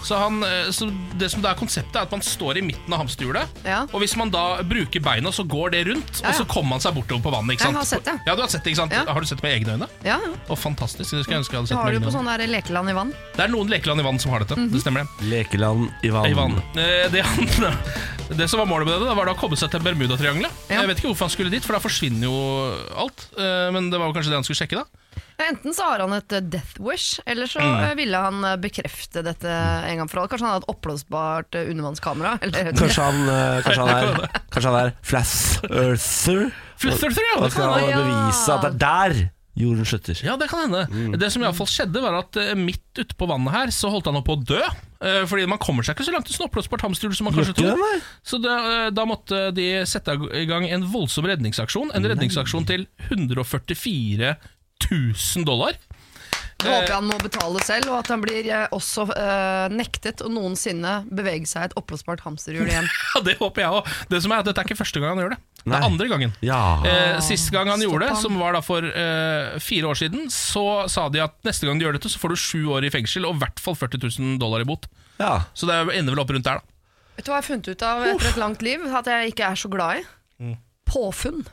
Speaker 5: Så, han, eh, så det som da er konseptet er at man står i midten av hamsterhjulet,
Speaker 4: Ja.
Speaker 5: og hvis man da bruker beina, så går det rundt, og
Speaker 4: Ja, ja.
Speaker 5: så kommer man seg bortover på vannet, ikke
Speaker 4: Jeg
Speaker 5: sant?
Speaker 4: har sett det.
Speaker 5: Ja, du har sett det, ikke sant?
Speaker 4: Ja.
Speaker 5: Har du sett det med egne øyne?
Speaker 4: Ja,
Speaker 5: Å, fantastisk, det skulle jeg ønske jeg hadde
Speaker 4: så
Speaker 5: sett
Speaker 4: har
Speaker 5: med
Speaker 4: du
Speaker 5: egne
Speaker 4: på
Speaker 5: øyne.
Speaker 4: sånn Mhm. der lekeland i vann.
Speaker 5: Det er noen lekeland i vann som har dette. Det stemmer det.
Speaker 3: Lekeland i vann.
Speaker 5: I vann. Eh, Det, han, <laughs> det som var målet med det, da, var da å komme seg til Bermudatriangelet.
Speaker 4: Ja.
Speaker 5: Jeg vet ikke hvorfor han skulle dit, for da forsvinner jo alt. Eh, Men det var jo kanskje det han skulle sjekke, da.
Speaker 4: Ja, Enten så har han et eh, death wish, eller så eh, ville han eh, bekrefte dette en gang for alle. Kanskje han hadde et oppblåsbart eh, undervannskamera? <laughs> Eller,
Speaker 3: Kanskje han, eh, kanskje han
Speaker 5: <laughs>
Speaker 3: er, kanskje han er Flass Earther?
Speaker 5: Flutter,
Speaker 3: Og skal
Speaker 5: ja.
Speaker 3: han
Speaker 4: ja.
Speaker 3: bevise at det er der jorden slutter.
Speaker 5: ja, det kan hende.
Speaker 3: Mm.
Speaker 5: Det som iallfall skjedde, var at eh, midt ute på vannet her, så holdt han opp å dø. Eh, Fordi man kommer seg ikke så langt til snoppblåsbart hamsterhjul som man kanskje
Speaker 3: Gjør
Speaker 5: tror.
Speaker 3: det, nei?
Speaker 5: Så da, eh, da måtte de sette i gang en voldsom redningsaksjon. En redningsaksjon til 144 000 dollar. <laughs>
Speaker 4: jeg håper han må betale selv, og at han blir eh, også eh, nektet å noensinne bevege seg i et oppblåsbart hamsterhjul igjen.
Speaker 5: Ja, Det håper jeg òg. Det som er at dette er ikke første gang han gjør det. Det
Speaker 3: Nei. Ah,
Speaker 5: er andre gangen.
Speaker 3: Ja.
Speaker 5: Eh, sist gang han
Speaker 4: Stopp
Speaker 5: gjorde det,
Speaker 4: han.
Speaker 5: som var da for eh, fire år siden, så sa de at neste gang du gjør dette, så får du sju år i fengsel og i hvert fall 40 000 dollar i bot.
Speaker 3: ja.
Speaker 5: Så det ender vel opp rundt der, da.
Speaker 4: Vet du hva jeg har funnet ut av etter et langt liv at jeg ikke er så glad i? Påfunn.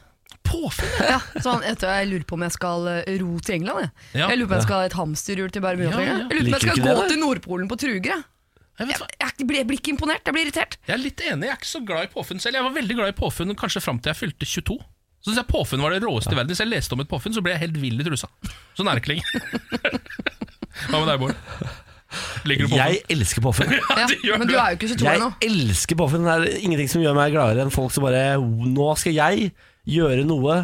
Speaker 5: Påfunn!
Speaker 4: Ja, sånn, vet du, jeg lurer på om jeg skal eh, ro til England. Jeg,
Speaker 5: Ja.
Speaker 4: jeg lurer på om jeg skal ha et hamsterhjul til
Speaker 5: Ja, ja,
Speaker 4: Bermudatriangelet.
Speaker 5: ja.
Speaker 4: Jeg lurer på om jeg
Speaker 3: Liker
Speaker 4: skal
Speaker 3: ikke det,
Speaker 4: gå
Speaker 3: da?
Speaker 4: til Nordpolen på truger. Jeg.
Speaker 5: Jeg, vet
Speaker 4: Jeg,
Speaker 5: hva,
Speaker 4: jeg, blir- jeg blir ikke imponert, jeg blir irritert.
Speaker 5: jeg er litt enig, jeg er ikke så glad i påfunn selv. Jeg var veldig glad i påfunn kanskje fram til jeg fylte 22. Så synes jeg påfunn var det råeste i verden. Hvis jeg leste om et påfunn, så ble jeg helt vill i trusa. Sånn er det ikke lenger. Hva med deg, Bård? Liker du påfunn?
Speaker 3: Jeg elsker påfunn.
Speaker 4: Ja,
Speaker 5: det gjør
Speaker 4: men
Speaker 5: du.
Speaker 4: du er jo ikke 22
Speaker 3: Jeg
Speaker 4: ennå.
Speaker 3: elsker påfunn. Det er ingenting som gjør meg gladere enn folk som bare Nå skal jeg gjøre noe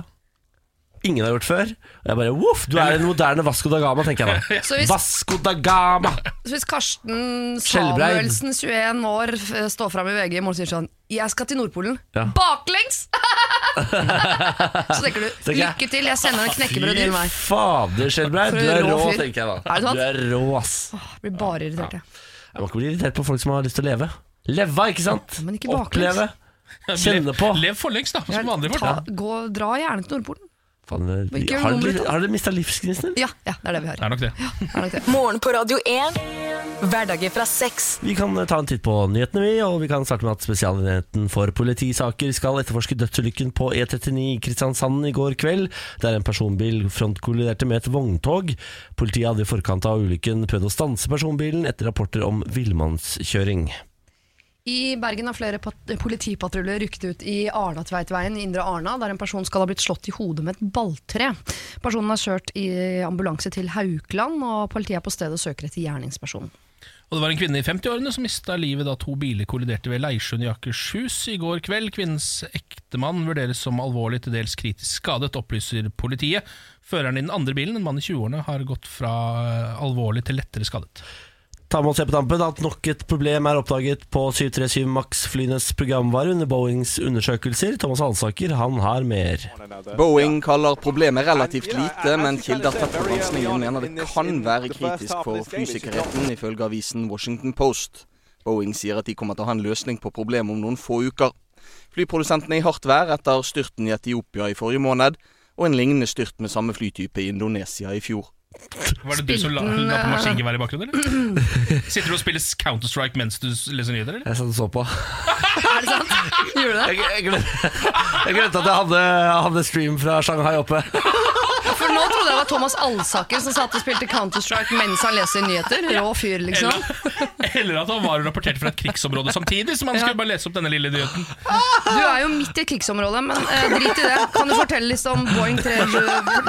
Speaker 3: ingen har gjort før. Og jeg bare Voff, du er en moderne Vasco da Gama, tenker jeg
Speaker 4: <laughs> Så
Speaker 3: da.
Speaker 4: hvis-
Speaker 3: Vasco da Gama!
Speaker 4: Så hvis Karsten
Speaker 3: Skjelbreid.
Speaker 4: Samuelsen, 21 år, f- står fram i VG i morgen og sier sånn 'Jeg skal til Nordpolen'.
Speaker 3: Ja.
Speaker 4: Baklengs! <laughs> så tenker du
Speaker 3: tenker jeg,
Speaker 4: 'lykke til, jeg sender en knekkebrød din vei'.
Speaker 3: fader, Skjelbreid.
Speaker 4: For
Speaker 3: Du
Speaker 4: en
Speaker 3: er
Speaker 4: rå
Speaker 3: rå,
Speaker 4: fyr.
Speaker 3: tenker jeg
Speaker 4: Er det
Speaker 3: da.
Speaker 4: sant?
Speaker 3: Du er rå, ass.
Speaker 4: Jeg blir bare irritert, jeg.
Speaker 3: Jeg må ikke bli irritert på folk som har lyst til å leve. Leve, ikke sant?
Speaker 4: Men ikke baklengs.
Speaker 3: Oppleve. Kjenne på.
Speaker 5: Lev forlengs, da, som vanlige folk.
Speaker 4: Ta, gå, dra gjerne til Nordpolen.
Speaker 3: Faen, det-
Speaker 4: ikke gjør
Speaker 3: har
Speaker 4: noe
Speaker 3: dere-
Speaker 4: med det.
Speaker 3: Har dere mista livsgnisten?
Speaker 4: Ja, ja, det er det vi har.
Speaker 5: Det er nok det.
Speaker 4: Det er nok det.
Speaker 6: Morgen på Radio 1. Hverdager fra seks.
Speaker 3: Vi kan eh, ta en titt på nyhetene, vi. Og vi kan starte med at Spesialenheten for politisaker skal etterforske dødsulykken på E39 i Kristiansand i går kveld, der en personbil frontkolliderte med et vogntog. Politiet hadde i forkant av ulykken prøvd å stanse personbilen etter rapporter om villmannskjøring.
Speaker 4: I Bergen har flere pat- politipatruljer rykket ut i Arnatveitveien i Indre Arna, der en person skal ha blitt slått i hodet med et balltre. Personen er kjørt i ambulanse til Haukeland, og politiet er på stedet og søker etter gjerningspersonen.
Speaker 5: Og det var en kvinne i 50-årene som mista livet da to biler kolliderte ved Leirsund i Akershus i går kveld. Kvinnens ektemann vurderes som alvorlig til dels kritisk skadet, opplyser politiet. Føreren i den andre bilen, en mann i 20-årene, har gått fra eh, alvorlig til lettere skadet.
Speaker 3: Ta med oss her på tampen at nok et problem er oppdaget på 737 MAX-flyenes programvare under Boeings undersøkelser. Thomas Halsaker, han har mer.
Speaker 8: Boeing kaller problemet relativt lite, men kilder til forurensningen mener det kan være kritisk for flysikkerheten, ifølge avisen Washington Post. Boeing sier at de kommer til å ha en løsning på problemet om noen få uker. Flyprodusentene er i hardt vær etter styrten i Etiopia i forrige måned, og en lignende styrt med samme flytype i Indonesia i fjor.
Speaker 5: Var det du som la,
Speaker 4: Spilte den,
Speaker 5: la på
Speaker 4: eh,
Speaker 5: maskingevær i bakgrunnen, eller?
Speaker 4: <clears throat>
Speaker 5: Sitter du og spiller Counter-Strike mens du s- leser nyheter, eller?
Speaker 3: Jeg satt og så på.
Speaker 4: Er det sant? Gjorde du det?
Speaker 3: Jeg, jeg, glemte, jeg glemte at jeg hadde, hadde stream fra Shanghai oppe.
Speaker 4: For nå trodde jeg det var Thomas Alsaker som satt og spilte Counter-Strike mens han leser nyheter. Rå fyr, liksom.
Speaker 5: Eller at han var og rapporterte fra et krigsområde samtidig, så man skulle bare lese opp denne lille nyheten.
Speaker 4: Du er jo midt i krigsområdet, men eh, drit i det. Kan du fortelle litt om Boeing 3?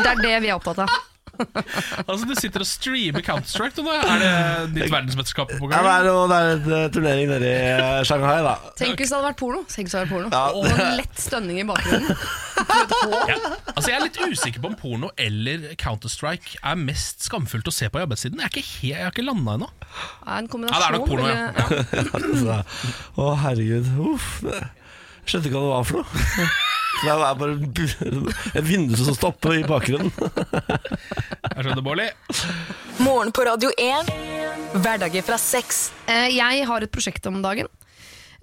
Speaker 4: Det er det vi er opptatt av.
Speaker 5: Altså, Du sitter og streamer Counter-Strike, du nå. Er det ditt verdensmesterskap på
Speaker 3: Ja, det
Speaker 5: gang?
Speaker 3: er, noe, det er en eh, turnering nede i eh, Shanghai, da.
Speaker 4: Tenk hvis det hadde vært porno. Tenk hvis det hadde vært porno Og en lett stønning i bakgrunnen.
Speaker 5: Ja. Altså, Jeg er litt usikker på om porno eller Counter-Strike er mest skamfullt å se på i arbeidstiden. Jeg, er ikke he- jeg har ikke landa ennå.
Speaker 4: Er en kombinasjon.
Speaker 5: Ja, det er nok porno, ja.
Speaker 4: eller-
Speaker 3: Så, å, herregud. Uff. Jeg skjønte ikke hva det var for noe. Det er bare en bu- et vindu som stopper i bakgrunnen.
Speaker 5: Jeg skjønner, Bårli.
Speaker 6: Morgen på Radio 1. Hverdager fra seks.
Speaker 4: Eh, Jeg har et prosjekt om dagen.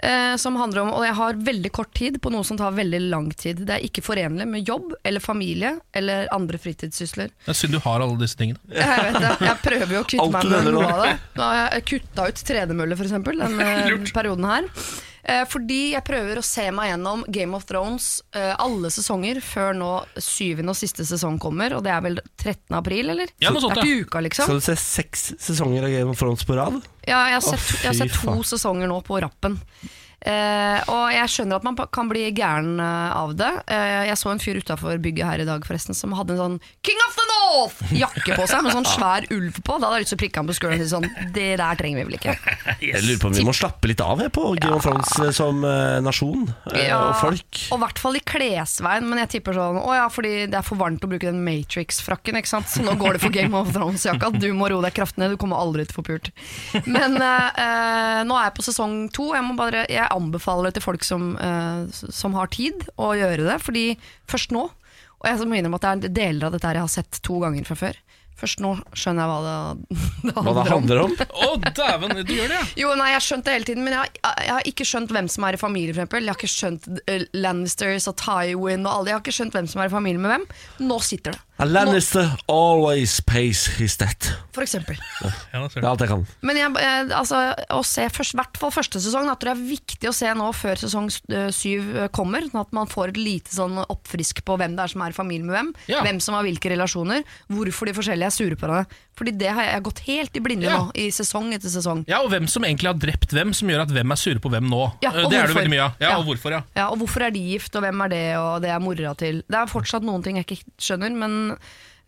Speaker 4: eh, Som handler om, og jeg har veldig kort tid på noe som tar veldig lang tid. Det er ikke forenlig med jobb eller familie eller andre fritidssysler.
Speaker 5: Det er synd du har alle disse tingene.
Speaker 4: Jeg vet det, jeg prøver jo å kvitte
Speaker 3: Alt
Speaker 4: meg
Speaker 3: du
Speaker 4: med
Speaker 3: nevner nå.
Speaker 4: noe av det. Nå har jeg kutta ut tredemølle, f.eks.,
Speaker 3: <laughs>
Speaker 4: denne perioden her. Eh, Fordi jeg prøver å se meg gjennom Game of Thrones eh, alle sesonger før nå syvende og siste sesong kommer, og det er vel 13. april, eller?
Speaker 5: Ja, noe sånt,
Speaker 4: det er ikke uka, liksom.
Speaker 3: Skal du se seks sesonger av Game of Thrones på rad?
Speaker 4: Ja, jeg har
Speaker 3: Å,
Speaker 4: sett, jeg har
Speaker 3: fy
Speaker 4: sett to
Speaker 3: faen.
Speaker 4: sesonger nå på rappen. Eh, og jeg skjønner at man pa- kan bli gæren eh, av det. Eh, jeg så en fyr utafor bygget her i dag forresten som hadde en sånn King of the North-jakke på seg med sånn svær ulv på. Da hadde jeg lyst til å prikke ham på skulderen og si sånn Det der trenger vi vel ikke.
Speaker 3: Jeg lurer på om vi må slappe litt av jeg, på Game of Thrones eh, som eh, nasjon eh,
Speaker 4: Ja,
Speaker 3: og folk.
Speaker 4: Og i hvert fall i klesveien, men jeg tipper sånn Å ja, fordi det er for varmt å bruke den Matrix-frakken, ikke sant. Så nå går det for Game of Thrones-jakka. Du må roe deg kraftig ned, du kommer aldri til å få pult. Men eh, eh, nå er jeg på sesong to. Jeg, må bare, jeg anbefaler det til folk som, eh, s- som har tid, å gjøre det. Fordi først nå Og jeg må innrømme at det er deler av dette her jeg har sett to ganger fra før. Først nå skjønner jeg hva det, det
Speaker 3: Hva det
Speaker 4: handler om.
Speaker 3: handler om.
Speaker 5: Å, dæven, du gjør det, ja!
Speaker 4: Jo, nei, jeg har skjønt det hele tiden, men jeg har, jeg har ikke skjønt hvem som er i familie, for eksempel. Jeg har ikke skjønt eh, Lannisters og Tywin og alle. Jeg har ikke skjønt hvem som er i familie med hvem. Nå sitter det. Nå,
Speaker 3: <laughs> Lannister always pays his debt.
Speaker 4: for eksempel.
Speaker 5: ja da ser
Speaker 3: Det er
Speaker 5: du.
Speaker 3: alt jeg kan.
Speaker 4: Men jeg, eh, altså, å se først, hvert fall første sesong, da tror jeg er viktig å se nå før sesong s- eh, syv eh, kommer, sånn at man får et lite sånn oppfrisk på hvem det er som er i familie med hvem,
Speaker 5: Ja.
Speaker 4: hvem som har hvilke relasjoner, hvorfor de forskjellige er sure på hverandre. Fordi det har jeg, jeg har gått helt i blinde
Speaker 5: Ja.
Speaker 4: nå, i sesong etter sesong.
Speaker 5: Ja, og hvem som egentlig har drept hvem, som gjør at hvem er sure på hvem nå.
Speaker 4: Ja,
Speaker 5: Eh,
Speaker 4: og
Speaker 5: det er det
Speaker 4: hvorfor.
Speaker 5: veldig mye av. Ja,
Speaker 4: Ja.
Speaker 5: og hvorfor, ja.
Speaker 4: Ja, og hvorfor er de gift, og hvem er det, og det er mora til Det er fortsatt noen ting jeg ikke skjønner, men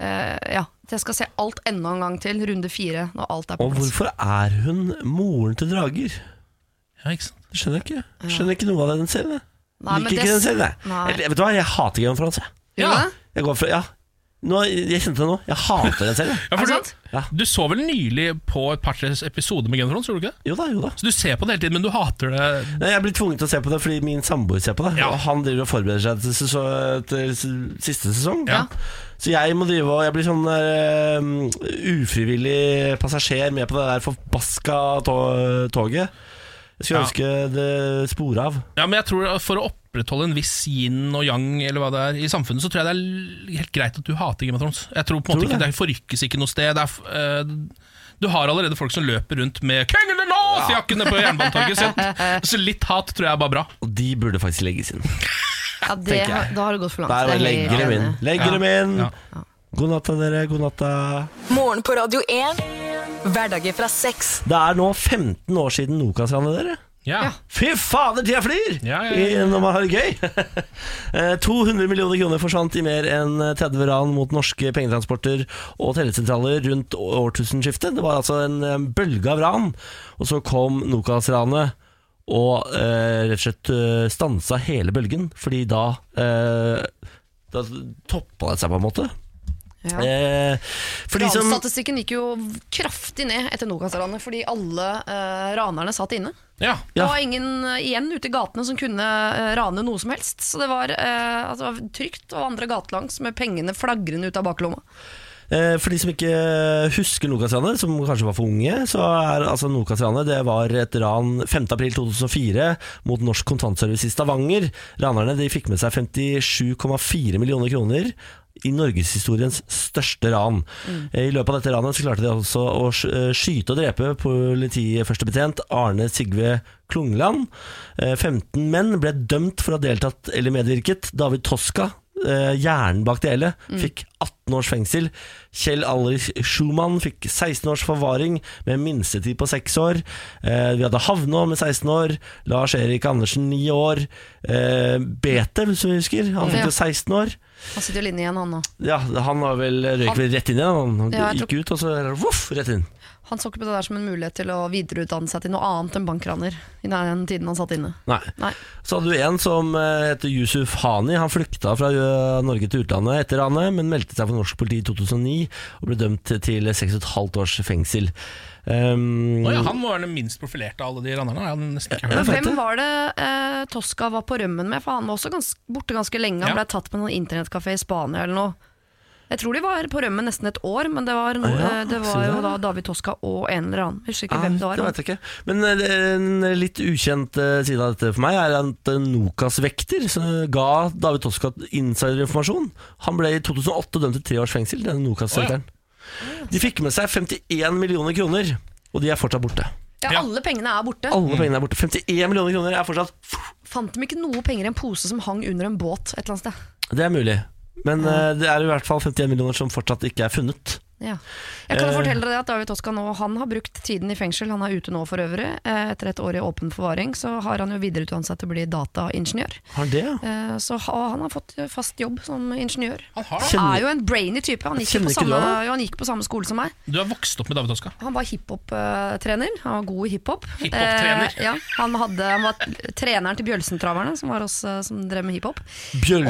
Speaker 4: eh, ja. Jeg skal se alt enda en gang til, runde fire, når alt er på
Speaker 3: Og
Speaker 4: plass.
Speaker 3: hvorfor er hun moren til drager?
Speaker 5: ja ikke sant?
Speaker 3: Det skjønner jeg ikke. Jeg skjønner ikke noe av det den serien. jeg.
Speaker 4: Nei, men
Speaker 3: Liker
Speaker 4: det-
Speaker 3: ikke den serien. jeg.
Speaker 4: Nei.
Speaker 3: Jeg, vet du hva, jeg hater Game of Thrones. Jeg.
Speaker 5: Ja.
Speaker 4: Gjorde det?
Speaker 3: Jeg går fra, ja. nå, jeg kjente det nå. Jeg hater den serien. jeg.
Speaker 5: <laughs> Ja, for
Speaker 4: Er det
Speaker 5: du-
Speaker 4: sant?
Speaker 5: Du så vel nylig på et par tre episoder med Game of Thrones, gjorde du ikke det?
Speaker 3: Jo da, jo da.
Speaker 5: Så du ser på det hele tiden, men du hater det
Speaker 3: Nei, Jeg blir tvunget til å se på det fordi min samboer ser på det.
Speaker 5: Ja.
Speaker 3: Og han driver og forbereder seg til, seso- til s- siste sesong.
Speaker 5: Ja.
Speaker 3: Så jeg må drive og Jeg blir sånn der, um, ufrivillig passasjer med på det der forbaska to toget. Jeg skulle
Speaker 5: Ja.
Speaker 3: ønske det spora av.
Speaker 5: Ja, men jeg tror at For å opprettholde en viss yin og yang eller hva det er i samfunnet, så tror jeg det er l- helt greit at du hater Game of Thrones. Jeg tror på en
Speaker 3: Tror
Speaker 5: måte
Speaker 3: du
Speaker 5: ikke det
Speaker 3: det?
Speaker 5: forrykkes ikke noe sted. Det er, f- eh, du har allerede folk som løper rundt med 'King of the North'-jakkene på Jernbanetorget. Så, så litt hat tror jeg er bare bra.
Speaker 3: Og de burde faktisk legges inn.
Speaker 4: Ja, det,
Speaker 3: Tenker jeg.
Speaker 4: da har det gått for langt.
Speaker 3: Der
Speaker 4: det er helt
Speaker 3: legger dem inn.
Speaker 4: enig.
Speaker 3: Legger
Speaker 5: Ja.
Speaker 3: dem inn.
Speaker 5: Ja.
Speaker 3: God natta, dere. God natta.
Speaker 6: Morgen på Radio 1. Hverdager fra seks.
Speaker 3: Det er nå 15 år siden Nokas-ranet, dere.
Speaker 5: Ja.
Speaker 3: Fy fader, tida flyr!
Speaker 5: Ja, ja, ja.
Speaker 3: I- Når man har det gøy.
Speaker 5: <laughs>
Speaker 3: Eh, 200 millioner kroner forsvant i mer enn 30 ran mot norske pengetransporter og telesentraler rundt å- årtusenskiftet. Det var altså en eh, bølge av ran. Og så kom Nokas-ranet og eh, rett og slett eh, stansa hele bølgen, fordi da eh, da toppa det seg, på en måte.
Speaker 4: Ja.
Speaker 3: Eh, for de som
Speaker 4: Ranstatistikken gikk jo kraftig ned etter Nokas-ranet, fordi alle eh, ranerne satt inne.
Speaker 5: ja.
Speaker 3: Ja.
Speaker 4: Det var ingen eh, igjen ute i gatene som kunne eh, rane noe som helst. Så det var, eh, altså, det var trygt å vandre gatelangs med pengene flagrende ut av baklomma.
Speaker 3: Eh, For de som ikke husker Nokas-ranet, som kanskje var for unge, så er altså Nokas-ranet Det var et ran 5.4.2004 mot Norsk Kontantservice i Stavanger. Ranerne de fikk med seg 57,4 millioner kroner. I norgeshistoriens største ran. Eh, I løpet av dette ranet så klarte de altså å sk- eh, skyte og drepe politiførstebetjent Arne Sigve Klungland. Eh, 15 menn ble dømt for å ha deltatt eller medvirket. David Toska, eh, hjernen bak det hele, fikk 18 års fengsel. Kjell Alrich Schumann fikk 16 års forvaring med en minstetid på 6 år. Eh, vi hadde Havnå med 16 år. Lars Erik Andersen 9 år. Eh, Bete, hvis du husker, han fikk
Speaker 4: Ja.
Speaker 3: jo 16 år.
Speaker 4: Han sitter jo inne igjen, han nå.
Speaker 3: Ja, han var vel røyk vel rett inn igjen. Han Han
Speaker 4: Ja, jeg
Speaker 3: gikk ut, og så voff, rett inn.
Speaker 4: Han så ikke på det der som en mulighet til å videreutdanne seg til noe annet enn bankraner. I den tiden han satt inne.
Speaker 3: Nei.
Speaker 4: Nei.
Speaker 3: Så hadde du en som eh, heter Yusuf Hani. Han flykta fra eh, Norge til utlandet etter ranet, men meldte seg for norsk politi i 2009 og ble dømt til 6,5 års fengsel. Um,
Speaker 5: Å ja, han var den minst profilerte av alle de randerne. Jeg hadde nesten ikke hørt
Speaker 3: Ja,
Speaker 5: om.
Speaker 4: Men
Speaker 3: vet
Speaker 4: hvem
Speaker 3: det.
Speaker 4: var det eh, Tosca var på rømmen med? For han var også gans borte ganske lenge. Han
Speaker 5: Ja.
Speaker 4: ble tatt på en internettkafé i Spania eller noe. Jeg tror de var på rømmen nesten et år, men det var, no
Speaker 3: Å ja,
Speaker 4: eh, det
Speaker 3: se
Speaker 4: var jo
Speaker 3: der.
Speaker 4: da David Tosca og en eller annen. Jeg husker ikke
Speaker 3: Ja,
Speaker 4: hvem det var.
Speaker 3: Ah, Det vet jeg ikke. Men eh, det- en litt ukjent eh, side av dette for meg er at eh, Nokas vekter så ga David Toska insiderinformasjon. Han ble i 2008 dømt til tre års fengsel, denne Nokas-vekteren. De fikk med seg 51 millioner kroner, og de er fortsatt borte.
Speaker 4: Ja,
Speaker 5: Ja. Mm.
Speaker 4: alle pengene er borte.
Speaker 3: Alle pengene er borte. 51 millioner kroner er fortsatt
Speaker 4: Fant de ikke noe penger i en pose som hang under en båt et eller annet sted?
Speaker 3: Det er mulig. Men eh, det er i hvert fall 51 millioner som fortsatt ikke er funnet.
Speaker 4: Ja. Jeg kan
Speaker 3: Eh.
Speaker 4: fortelle deg at David Toska nå Han har brukt tiden i fengsel, han er ute nå for øvrig. Eh, Etter et år i åpen forvaring så har han jo videreutdannet seg til å bli dataingeniør.
Speaker 3: Har det, ja?
Speaker 4: Eh, Så ha- han har fått fast jobb som ingeniør.
Speaker 5: Han har det.
Speaker 4: Han
Speaker 3: Kjenner-
Speaker 4: er jo en brainy type. Han gikk, jo
Speaker 3: Kjenner
Speaker 4: på
Speaker 3: ikke du
Speaker 4: samme,
Speaker 3: han, da?
Speaker 4: jo, han gikk på samme skole som meg.
Speaker 5: Du har vokst opp med David Oska.
Speaker 4: Han var hiphop-trener. Han var god i hiphop. Eh,
Speaker 5: Hiphop-trener?
Speaker 4: ja, han, hadde, han var t- treneren til Bjølsentraverne, som var oss eh, som drev med hiphop.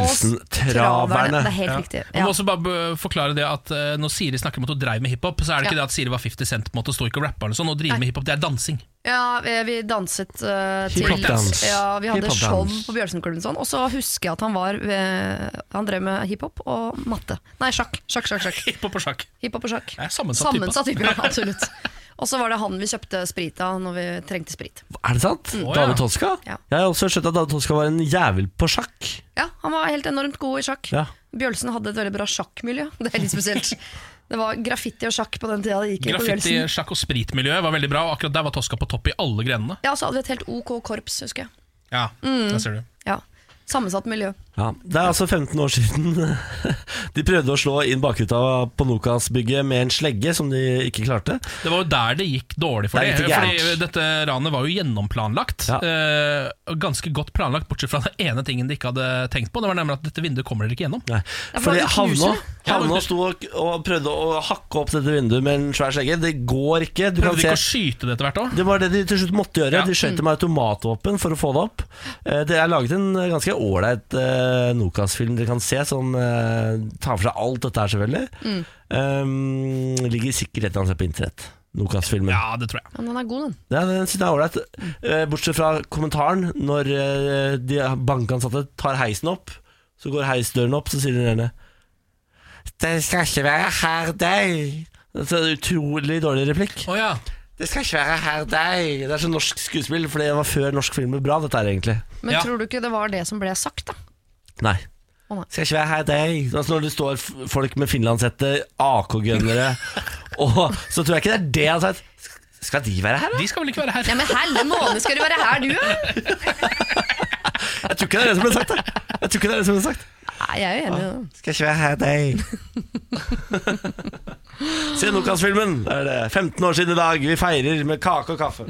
Speaker 3: Bjølsentraverne.
Speaker 4: Det er helt
Speaker 5: Ja.
Speaker 4: riktig.
Speaker 5: Jeg må også bare eh, forklare det at eh, Når Siri snakker om at hun dreiv med hiphop, så er det ikke
Speaker 4: Ja.
Speaker 5: det at Siri var 50 Cent på en måte, og står ikke og rapper. eller sånn, Å drive med hiphop, det er dansing.
Speaker 4: Ja, vi, vi danset eh, til
Speaker 3: Hiphopdans.
Speaker 4: Ja, vi hadde show
Speaker 3: Hiphopdans.
Speaker 4: på Bjørnsenklubben og sånn. Og så husker jeg at han var eh, Han drev med hiphop og matte. Nei, sjakk. Sjakk, sjakk, sjakk.
Speaker 5: Hiphop og sjakk.
Speaker 4: Hiphop og sjakk.
Speaker 5: Det er sammensatt type, <laughs>
Speaker 4: Sammensatt type, ja, absolutt. Og så var det han vi kjøpte sprit av når vi trengte sprit.
Speaker 3: Er det sant?
Speaker 5: Å, ja.
Speaker 3: David Toska?
Speaker 4: Ja.
Speaker 3: Jeg har også skjønt at David Toska var en jævel på sjakk.
Speaker 4: Ja, han var helt enormt god i sjakk.
Speaker 3: Ja.
Speaker 4: Bjølsen hadde et veldig bra sjakkmiljø. Det er litt spesielt. Det var graffiti og sjakk på den tida det gikk i på
Speaker 5: Graffiti,
Speaker 4: Bjølsen.
Speaker 5: sjakk og spritmiljøet var veldig bra, og akkurat der var Toska på topp i alle grenene.
Speaker 4: Ja, så hadde vi et helt ok korps, husker jeg.
Speaker 5: Ja, der ser du.
Speaker 4: Ja, Sammensatt miljø.
Speaker 3: Ja, Det er altså 15 år siden <laughs> de prøvde å slå inn bakruta på Nokas-bygget med en slegge, som de ikke klarte.
Speaker 5: Det var jo der det gikk dårlig for
Speaker 3: Det er
Speaker 5: dem. eh,
Speaker 3: litt gærent.
Speaker 5: Fordi dette ranet var jo gjennomplanlagt.
Speaker 3: Ja.
Speaker 5: eh, og ganske godt planlagt, bortsett fra den ene tingen de ikke hadde tenkt på. Det var nemlig at dette vinduet kommer dere ikke gjennom.
Speaker 3: Nei.
Speaker 4: Ja, for
Speaker 3: Fordi
Speaker 4: det var jo
Speaker 3: Havna,
Speaker 4: knuser.
Speaker 3: Havna sto og, og prøvde å hakke opp dette vinduet med en svær slegge. Det går ikke. Du
Speaker 5: Prøvde de
Speaker 3: kan
Speaker 5: ikke å
Speaker 3: se
Speaker 5: skyte det etter hvert òg?
Speaker 3: det var det de til slutt måtte gjøre.
Speaker 5: Ja.
Speaker 3: De skjøt det med automatvåpen for å få det opp. Eh, Det er laget en ganske ålreit eh, Nokas-film dere kan se, som eh, tar for seg alt dette her,
Speaker 5: Mm.
Speaker 3: selvfølgelig. Eh, ligger sikkert et eller annet sted på internett. Nokas-filmen.
Speaker 5: Ja, Mm. det tror jeg.
Speaker 4: Men han er god, den.
Speaker 3: Ja, den synes jeg er ålreit. Eh, Bortsett fra kommentaren når eh, de bankansatte tar heisen opp. Så går heisdøren opp, så sier den ene Det skal ikke være her deg. Det er en utrolig dårlig replikk.
Speaker 5: Å ja.
Speaker 3: Det skal ikke være her deg. Det er så norsk skuespill, for det var før norsk film ble bra, dette her, egentlig.
Speaker 4: Men
Speaker 5: Ja.
Speaker 4: tror du ikke det var det som ble sagt, da?
Speaker 3: Nei.
Speaker 4: Å, nei.
Speaker 3: Skal ikke være her deg. Altså Når det står f- folk med finlandshette,
Speaker 4: <laughs>
Speaker 3: AK-gunnere, og så tror jeg ikke det er det han har sagt. Sk- Skal de være her, da?
Speaker 5: De skal vel ikke være her?
Speaker 4: Ja, men helle måned skal du være her, du, ja?
Speaker 3: Jeg tror ikke det er det som ble sagt. Da. Jeg tror ikke det er det som ble sagt.
Speaker 4: Nei, jeg er jo enig i det.
Speaker 3: Skal ikke være her deg.
Speaker 4: <laughs>
Speaker 3: Se Nokas-filmen. Det er det. 15 år siden i dag. Vi feirer med kake og kaffe.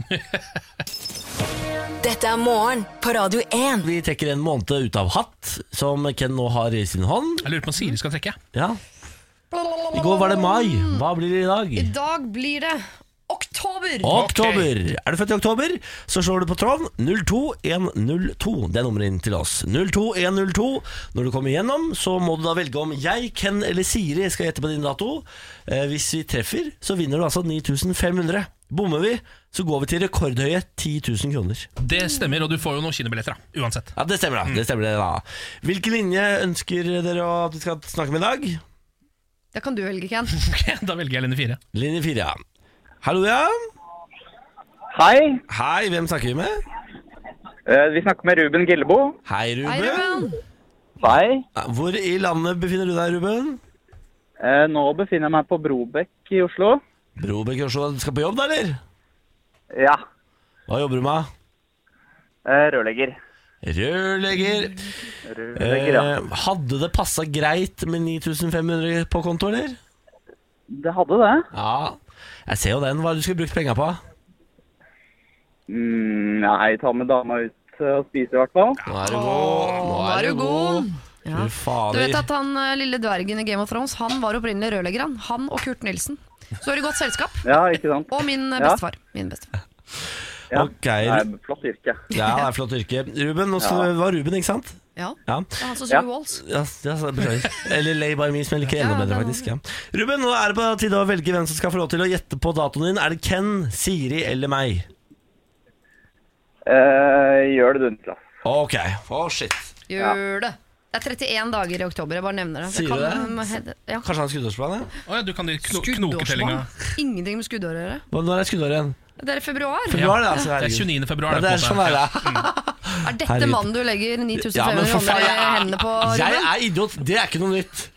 Speaker 6: Dette er morgen på Radio 1.
Speaker 3: Vi trekker en måned ut av hatt, som Ken nå har i sin hånd.
Speaker 5: Jeg lurer på om Siri skal trekke.
Speaker 3: Ja. I går var det mai. Hva blir det i dag?
Speaker 4: I dag blir det oktober!
Speaker 3: Oktober. Er du født i oktober, så slår du på tråden 02102. Det er nummeret inn til oss. 02102. Når du kommer igjennom, så må du da velge om jeg, Ken eller Siri skal gjette på din dato. Eh, hvis vi treffer, så vinner du altså 9500. Bommer vi, så går vi til rekordhøye 10 000 kroner.
Speaker 5: Det stemmer, og du får jo noen kinobilletter, da. Uansett. <laughs>
Speaker 3: Ja, det stemmer, da. Det stemmer det da. Hvilken linje ønsker dere å- at vi skal snakke med i dag?
Speaker 4: Det kan du velge, Ken.
Speaker 5: Ok, Da velger jeg linje fire.
Speaker 3: Linje fire, ja. Hallo, ja.
Speaker 9: Hei,
Speaker 3: Hei, hvem snakker vi med?
Speaker 9: eh, vi snakker med Ruben Gillebo.
Speaker 3: Hei, Ruben.
Speaker 4: Hei, Ruben.
Speaker 9: Hei.
Speaker 3: Hvor i landet befinner du deg, Ruben?
Speaker 9: Eh, nå befinner jeg meg på Brobekk i Oslo.
Speaker 3: Brobekk i Oslo, du skal på jobb da, eller?
Speaker 9: Ja,
Speaker 3: Hva jobber du med?
Speaker 9: eh, rørlegger.
Speaker 3: Rørlegger.
Speaker 9: Rørlegger, ja.
Speaker 3: Eh, hadde det passa greit med 9500 på konto, eller?
Speaker 9: Det hadde det.
Speaker 3: Ja. Jeg ser jo den. Hva er det du skulle brukt penga på?
Speaker 9: Mm, nei, ta med dama ut eh, og spise i hvert fall.
Speaker 3: Nå er du god.
Speaker 4: Nå er du god. Ja.
Speaker 3: Fy faen,
Speaker 4: Du vet
Speaker 3: vi-
Speaker 4: at han eh, lille dvergen i Game of Thrones Han var opprinnelig rørlegger, han. Han og Kurt Nilsen. Så er det godt selskap.
Speaker 10: Ja, ikke sant?
Speaker 4: Og min eh,
Speaker 10: Ja.
Speaker 4: bestefar. Min bestefar.
Speaker 10: Ja.
Speaker 3: Ok.
Speaker 10: Nei, flott yrke.
Speaker 3: Ja, det er flott yrke. Ruben, nå skal- var Ruben, ikke sant?
Speaker 4: Ja.
Speaker 3: Ja.
Speaker 4: Det er han som
Speaker 10: Ja.
Speaker 4: synger Walls.
Speaker 3: Ja, ja, så- beklager. Eller Lay by me, som jeg liker
Speaker 4: Ja,
Speaker 3: enda bedre,
Speaker 4: den
Speaker 3: faktisk. Ja. Ruben, nå er det på tide å velge hvem som skal få lov til å gjette på datoen din. Er det Ken, Siri eller meg?
Speaker 10: Eh, gjør det du, Niklas.
Speaker 3: Ok. Oh, shit.
Speaker 4: Gjør det. Det er 31 dager i oktober, jeg bare nevner det.
Speaker 3: Sier du
Speaker 4: kan- Ja.
Speaker 3: Kanskje han har skuddårsplan? Ja.
Speaker 5: Å ja, du kan de kno knoketellinga.
Speaker 4: Skuddårsmann. Ingenting med skuddår å gjøre.
Speaker 3: Hva- Når er skuddåret igjen?
Speaker 4: Det er i februar.
Speaker 3: Februar, det, altså.
Speaker 5: Det er
Speaker 3: herregud.
Speaker 5: 29. februar.
Speaker 3: Ja, det er
Speaker 5: på en
Speaker 3: sånn
Speaker 5: måte.
Speaker 3: er det.
Speaker 4: Er dette
Speaker 3: Herregud.
Speaker 4: mannen du legger 9500
Speaker 3: Ja, men for
Speaker 4: kroner
Speaker 3: faen,
Speaker 4: i
Speaker 3: jeg er-
Speaker 4: hendene
Speaker 3: <laughs>
Speaker 4: på?
Speaker 3: Jeg
Speaker 4: Ruben?
Speaker 3: er idiot. Det er ikke noe nytt.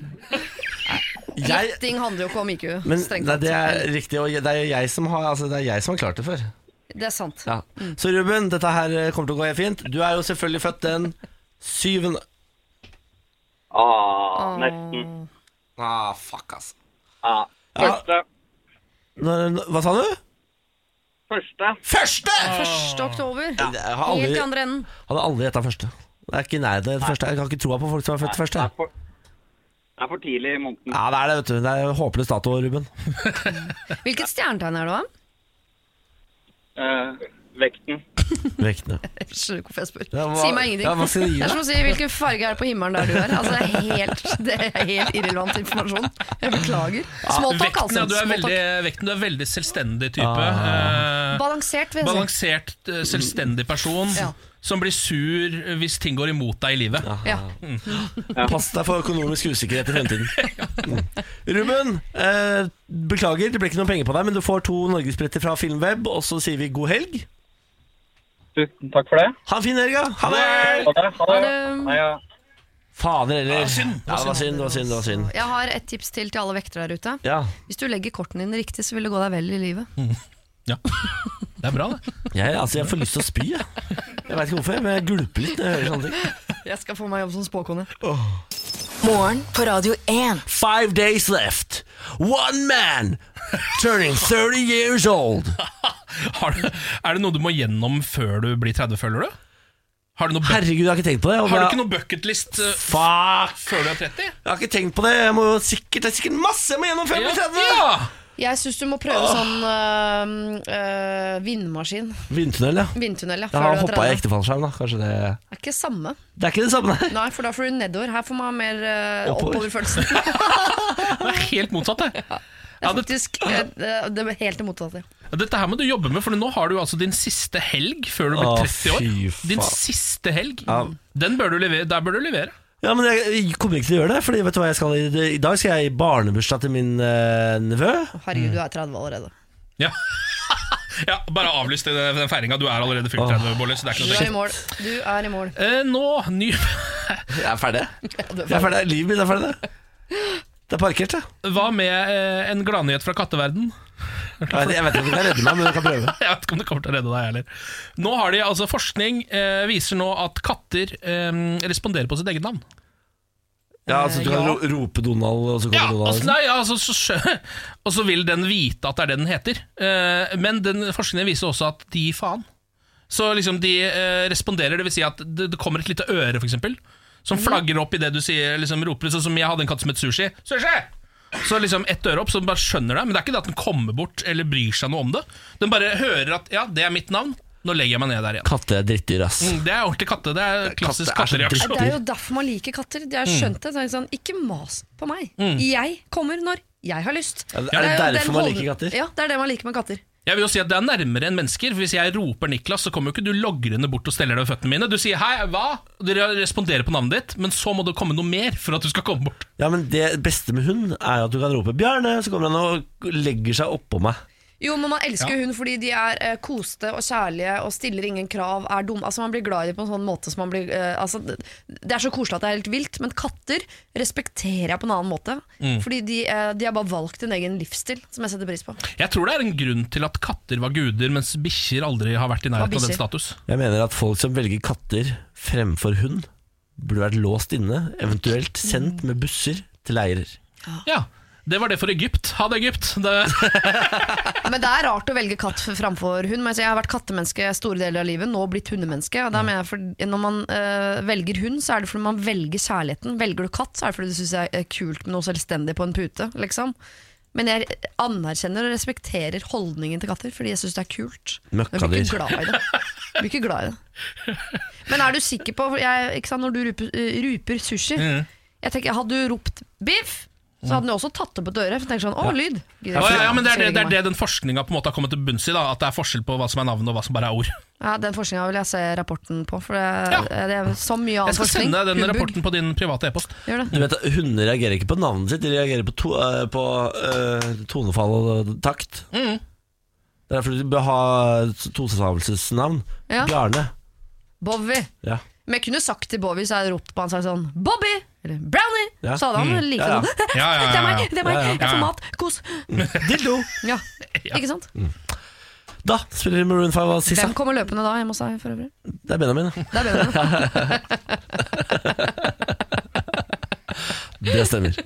Speaker 3: Jeg
Speaker 4: Gjetting handler jo ikke om IQ.
Speaker 3: men
Speaker 4: strengt
Speaker 3: nei, det
Speaker 4: tatt.
Speaker 3: er riktig, og det er jeg som har, altså, det er jeg som har klart det før.
Speaker 4: det er sant.
Speaker 3: Ja. Så Ruben, dette her eh, kommer til å gå helt fint. Du er jo selvfølgelig født den syvende
Speaker 10: Ah, nesten.
Speaker 3: Ah, fuck, altså.
Speaker 10: Ah. Første.
Speaker 3: Når, hva sa du?
Speaker 10: Første.
Speaker 3: Første!
Speaker 4: 1. oktober.
Speaker 3: Jeg har
Speaker 4: Helt
Speaker 3: aldri,
Speaker 4: i andre enden.
Speaker 3: hadde aldri gjetta første. Det er ikke i nærheten av det første. Jeg kan ikke troa på folk som er født først.
Speaker 10: Det er
Speaker 3: jeg.
Speaker 10: for, det er for tidlig i måneden.
Speaker 3: Ja, det er det, vet du. Det er en håpløs dato, Ruben.
Speaker 4: Hvilket stjernetegn er du, da?
Speaker 10: Eh, vekten.
Speaker 3: Vektene.
Speaker 4: Jeg skjønner ikke hvorfor jeg spør.
Speaker 3: Ja, hva-
Speaker 4: si meg ingenting.
Speaker 3: ja, hva skal jeg gi
Speaker 4: det
Speaker 3: deg?
Speaker 4: er som å si hvilken farge er det på himmelen der du er. Altså, det, er helt, det er helt irrelevant informasjon. Jeg beklager. Småtalk,
Speaker 5: Vekten,
Speaker 4: altså.
Speaker 5: ja, du er
Speaker 4: Smalltalk.
Speaker 5: veldig, vekten, du er veldig selvstendig type.
Speaker 3: Ah.
Speaker 5: Eh,
Speaker 4: Balansert, vil jeg si.
Speaker 5: balansert, eh, selvstendig person
Speaker 4: Ja.
Speaker 5: som blir sur hvis ting går imot deg i livet.
Speaker 4: Ja.
Speaker 3: Pass deg for økonomisk usikkerhet i fremtiden. Mm. Ruben, eh, beklager, det ble ikke noen penger på deg, men du får to norgesbretter fra Filmweb, og så sier vi god helg.
Speaker 10: Tusen takk for det.
Speaker 3: Ha en fin helg, da! Ha det!
Speaker 10: Ha det. Ha det.
Speaker 4: Um,
Speaker 10: Nei, ja.
Speaker 3: Fader heller. Ja, det var synd, det var synd. det var synd
Speaker 4: Jeg har et tips til til alle vektere der ute.
Speaker 3: Ja,
Speaker 4: Hvis du legger kortene dine riktig, så vil det gå deg vel i livet.
Speaker 5: Det er bra, det.
Speaker 3: jeg, altså, jeg får lyst til å spy, jeg. Jeg veit ikke hvorfor, men jeg gulper litt når jeg hører sånne ting.
Speaker 4: Jeg skal få meg jobb som spåkone.
Speaker 6: Morgen på Radio 1.
Speaker 3: Five days left. One man turning 30 years old.
Speaker 5: Har du, er det noe du må gjennom før du blir 30, føler du? Har du, noe bu-
Speaker 3: Herregud, jeg har ikke tenkt på det. og
Speaker 5: har du
Speaker 3: jeg-
Speaker 5: ikke noe bucketlist eh,
Speaker 3: Fuck!
Speaker 5: før du er 30?
Speaker 3: Jeg har ikke tenkt på det. Jeg må jo sikkert, det er sikkert masse jeg må gjennom før jeg blir 30.
Speaker 5: Ja!
Speaker 4: Jeg syns du må prøve sånn øh, øh, vindmaskin.
Speaker 3: Vindtunnel, ja.
Speaker 4: Vindtunnel, ja.
Speaker 3: Jeg
Speaker 4: Før
Speaker 3: har
Speaker 4: du
Speaker 3: hoppa i
Speaker 4: er 30.
Speaker 3: ektefallskjerm, da. Kanskje det
Speaker 4: Det er ikke samme.
Speaker 3: Det er ikke det samme, nei.
Speaker 4: Nei, for da får du nedover. Her får man mer øh,
Speaker 3: Oppover. <laughs>
Speaker 4: oppoverfølelse.
Speaker 5: Det er helt motsatt, det.
Speaker 4: Det
Speaker 5: Ja,
Speaker 4: er
Speaker 5: det-
Speaker 4: faktisk øh, det, det er helt det motsatte.
Speaker 5: Ja, Dette her må du jobbe med, for nå har du altså din siste helg før du blir
Speaker 3: Å,
Speaker 5: 30 år.
Speaker 3: fy faen.
Speaker 5: Din siste helg. Den bør du levere, der bør du levere.
Speaker 3: Ja, men jeg, jeg kommer ikke til å gjøre det. Fordi vet du hva jeg skal i, I dag skal jeg i barnebursdag til min eh, nevø.
Speaker 4: Herregud, du er 30 allerede.
Speaker 5: Ja. ja, bare avlyst den, den feiringa. Du er allerede fylt 30, Bolle. Så det er ikke
Speaker 4: Du
Speaker 5: noe
Speaker 4: er i
Speaker 5: tenkt.
Speaker 4: mål. Du er i mål.
Speaker 5: Eh, nå, ny <laughs>
Speaker 3: Jeg er ferdig.
Speaker 4: Ja, du er
Speaker 3: Jeg er ferdig. Livet mitt er ferdig. det. Det er parkert, ja.
Speaker 5: Hva med eh, en gladnyhet fra katteverden? <laughs>
Speaker 3: Jeg vet- jeg vet ikke om du kan redde meg, men du kan prøve.
Speaker 5: Jeg vet ikke om det kommer til å redde deg heller. Nå har de, altså Forskning eh, viser nå at katter eh, responderer på sitt eget navn.
Speaker 3: Ja, altså Du kan ro rope Donald, og så kommer
Speaker 5: Ja,
Speaker 3: Donald.
Speaker 5: altså,
Speaker 3: liksom.
Speaker 5: nei, altså, så, skjø- <laughs> og så vil den vite at det er det den heter. Eh, men den forskningen viser også at de faen. Så liksom de eh, responderer, det vil Si at det, det kommer et lite øre, for eksempel som
Speaker 3: Mhm.
Speaker 5: flagger opp i det du sier, liksom, roper. Sånn som jeg hadde en katt som het Sushi. Sushi! Så liksom ett øre opp, så den bare skjønner det. Men det er ikke det at den kommer bort eller bryr seg noe om det. Den bare hører at ja, det er mitt navn, nå legger jeg meg ned der igjen.
Speaker 3: Katter er drittdyr, ass.
Speaker 5: Mm, Det er ordentlig katte. Det er klassisk
Speaker 3: Katter Mm. er så
Speaker 5: kattereaksjon.
Speaker 4: Det er jo derfor man liker katter. Jeg har skjønt det. Så er det sånn, ikke mas på meg. Jeg kommer når jeg har lyst.
Speaker 3: Er Mm. det
Speaker 4: jo den
Speaker 3: derfor man liker
Speaker 4: holdning-
Speaker 3: katter?
Speaker 4: Ja, det er det man liker med katter.
Speaker 5: Jeg vil jo si at Det er nærmere enn mennesker. for Hvis jeg roper Niklas, så kommer jo ikke du logrende bort og steller deg ved føttene mine. Du sier 'hei, hva?' og de responderer på navnet ditt, men så må det komme noe mer for at du skal komme bort.
Speaker 3: Ja, men Det beste med hund er jo at du kan rope 'Bjarne', så kommer han og legger seg oppå meg.
Speaker 4: Jo, men man elsker hund fordi de er eh, koste og kjærlige og stiller ingen krav, er dumme. Altså, man blir glad i dem på en sånn måte som man blir eh, altså, det, det er så koselig at det er helt vilt, men katter respekterer jeg på en annen måte. Fordi de, eh, de har bare valgt en egen livsstil, som jeg setter pris på.
Speaker 5: Jeg tror det er en grunn til at katter var guder, mens bikkjer aldri har vært i
Speaker 4: Hva
Speaker 5: nærheten av
Speaker 4: bikkjer?
Speaker 5: den status.
Speaker 3: Jeg mener at folk som velger katter fremfor hund,
Speaker 4: Mm.
Speaker 3: burde vært låst inne, eventuelt sendt med busser til leirer.
Speaker 5: Ja Det var det for Egypt. Ha det, Egypt. Det,
Speaker 4: Men det er rart å velge katt framfor hund. Men altså, jeg har vært kattemenneske store deler av livet, nå blitt hundemenneske. Og da mener jeg for, når man øh, velger hund, så er det fordi man velger kjærligheten. Velger du katt, så er det fordi du syns det er kult med noe selvstendig på en pute. Liksom. Men jeg anerkjenner og respekterer holdningen til katter, fordi jeg syns det er kult. Men jeg blir ikke
Speaker 3: Møkkadyr.
Speaker 4: glad i det. Jeg Blir ikke glad i det. Men er du sikker på for jeg, ikke sant, Når du ruper, øh, ruper sushi jeg tenker, Hadde du ropt 'biff', så hadde den jo også tatt opp et øre. For jeg tenker sånn, å, lyd Gidder
Speaker 5: ja,
Speaker 4: ikke.
Speaker 5: ja, ja, men det er
Speaker 4: Skal
Speaker 5: det, det,
Speaker 4: jeg legge
Speaker 5: er
Speaker 4: meg.
Speaker 5: det den forskninga har kommet til bunns i. da At det er forskjell på hva som er navn, og hva som bare er ord.
Speaker 4: Ja, Den forskninga vil jeg se rapporten på. For det,
Speaker 5: Ja.
Speaker 4: det er så mye
Speaker 5: Jeg
Speaker 4: annen
Speaker 5: skal
Speaker 4: forskning.
Speaker 5: sende den
Speaker 4: Humbug.
Speaker 5: rapporten på din private e-post.
Speaker 4: Gjør
Speaker 3: Du
Speaker 4: det.
Speaker 3: vet, at Hunder reagerer ikke på navnet sitt, de reagerer på, to, eh, på eh, tonefall og takt.
Speaker 4: Mm.
Speaker 3: Det er derfor du bør ha tostavelsesnavn.
Speaker 4: Ja.
Speaker 3: Bjarne.
Speaker 4: Bowie.
Speaker 3: Ja.
Speaker 4: Men jeg kunne sagt til Bowie, så hadde jeg ropt på han og sagt sånn Bobby! Eller Brownie!
Speaker 3: Ja.
Speaker 4: Så hadde han
Speaker 3: Mm.
Speaker 4: like
Speaker 3: Ja, ja.
Speaker 4: sånn
Speaker 5: Ja, ja, ja,
Speaker 4: <laughs> Det er meg!
Speaker 5: ja.
Speaker 4: det er meg,
Speaker 3: Ja, ja.
Speaker 4: Jeg
Speaker 5: Ja, ja.
Speaker 4: får mat! Kos!
Speaker 5: <laughs>
Speaker 3: Dildo!
Speaker 4: Ja. Ikke sant?
Speaker 3: Da spiller Maroon 5 av Sissa.
Speaker 4: Hvem kommer løpende da hjemme hos deg for øvrig?
Speaker 3: Det er Benjamin. ja.
Speaker 4: Det er
Speaker 3: <laughs>
Speaker 4: bedre.
Speaker 3: Det stemmer.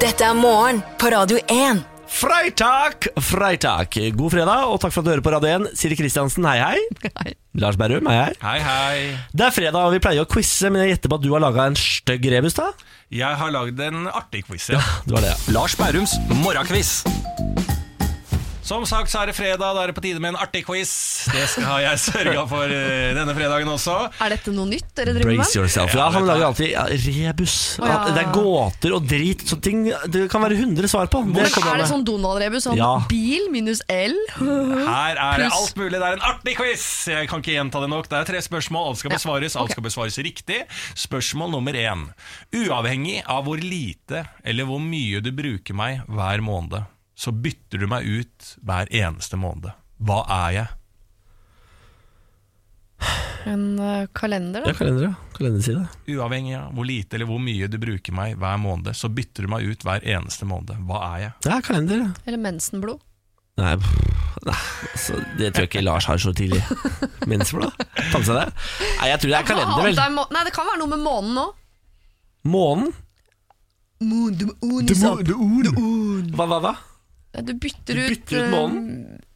Speaker 6: Dette er morgen på Radio 1.
Speaker 3: Freitag! Freitag. God fredag, og takk for at du hører på Radio 1. Siri Kristiansen, hei hei.
Speaker 4: Hei.
Speaker 3: Lars Berrum, hei hei.
Speaker 9: Hei, hei.
Speaker 3: Det er fredag, og vi pleier å quize, men jeg gjetter på at du har laga en stygg rebus, da?
Speaker 9: Jeg har lagd en artig quiz. Ja.
Speaker 3: Det var det, ja.
Speaker 9: Lars Bærums morgenquiz. Som sagt så er det fredag, da er det på tide med en artig quiz. Det skal har jeg sørga for eh, denne fredagen også.
Speaker 4: Er dette noe nytt dere driver
Speaker 3: Brace
Speaker 4: med?
Speaker 3: yourself. Ja, han lager alltid ja, rebus.
Speaker 4: ja.
Speaker 3: Det er gåter og drit. Så ting det kan være 100 svar på.
Speaker 4: Men
Speaker 3: Det kommer
Speaker 4: er det
Speaker 3: med.
Speaker 4: sånn Donald-rebus? Sånn
Speaker 3: Ja.
Speaker 4: bil minus L?
Speaker 9: Her er det
Speaker 4: Pluss-
Speaker 9: alt mulig. Det er en artig quiz! Jeg kan ikke gjenta det nok. Det er tre spørsmål, alt skal besvares. Alt skal besvares riktig. Spørsmål nummer én. Uavhengig av hvor lite eller hvor mye du bruker meg hver måned, så bytter du meg ut hver eneste måned. Hva er jeg?
Speaker 4: En øh, kalender,
Speaker 3: Ja,
Speaker 4: da?
Speaker 3: kalender, ja. Kalenderside.
Speaker 9: Uavhengig av hvor lite eller hvor mye du bruker meg hver måned, så bytter du meg ut hver eneste måned. Hva er jeg?
Speaker 3: Det er kalender, ja.
Speaker 4: Eller mensenblod?
Speaker 3: Nei, pff, nei altså, det tror jeg ikke Lars har så tidlig. Mensblad? Ta med seg det? Nei, jeg tror det er kalender,
Speaker 4: Hva annet
Speaker 3: vel.
Speaker 4: er må- Nei, det kan være noe med månen òg.
Speaker 3: Månen? Hva, hva, hva?
Speaker 4: Du bytter
Speaker 3: Du
Speaker 4: ut
Speaker 3: bytter ut
Speaker 4: øh,
Speaker 3: månen?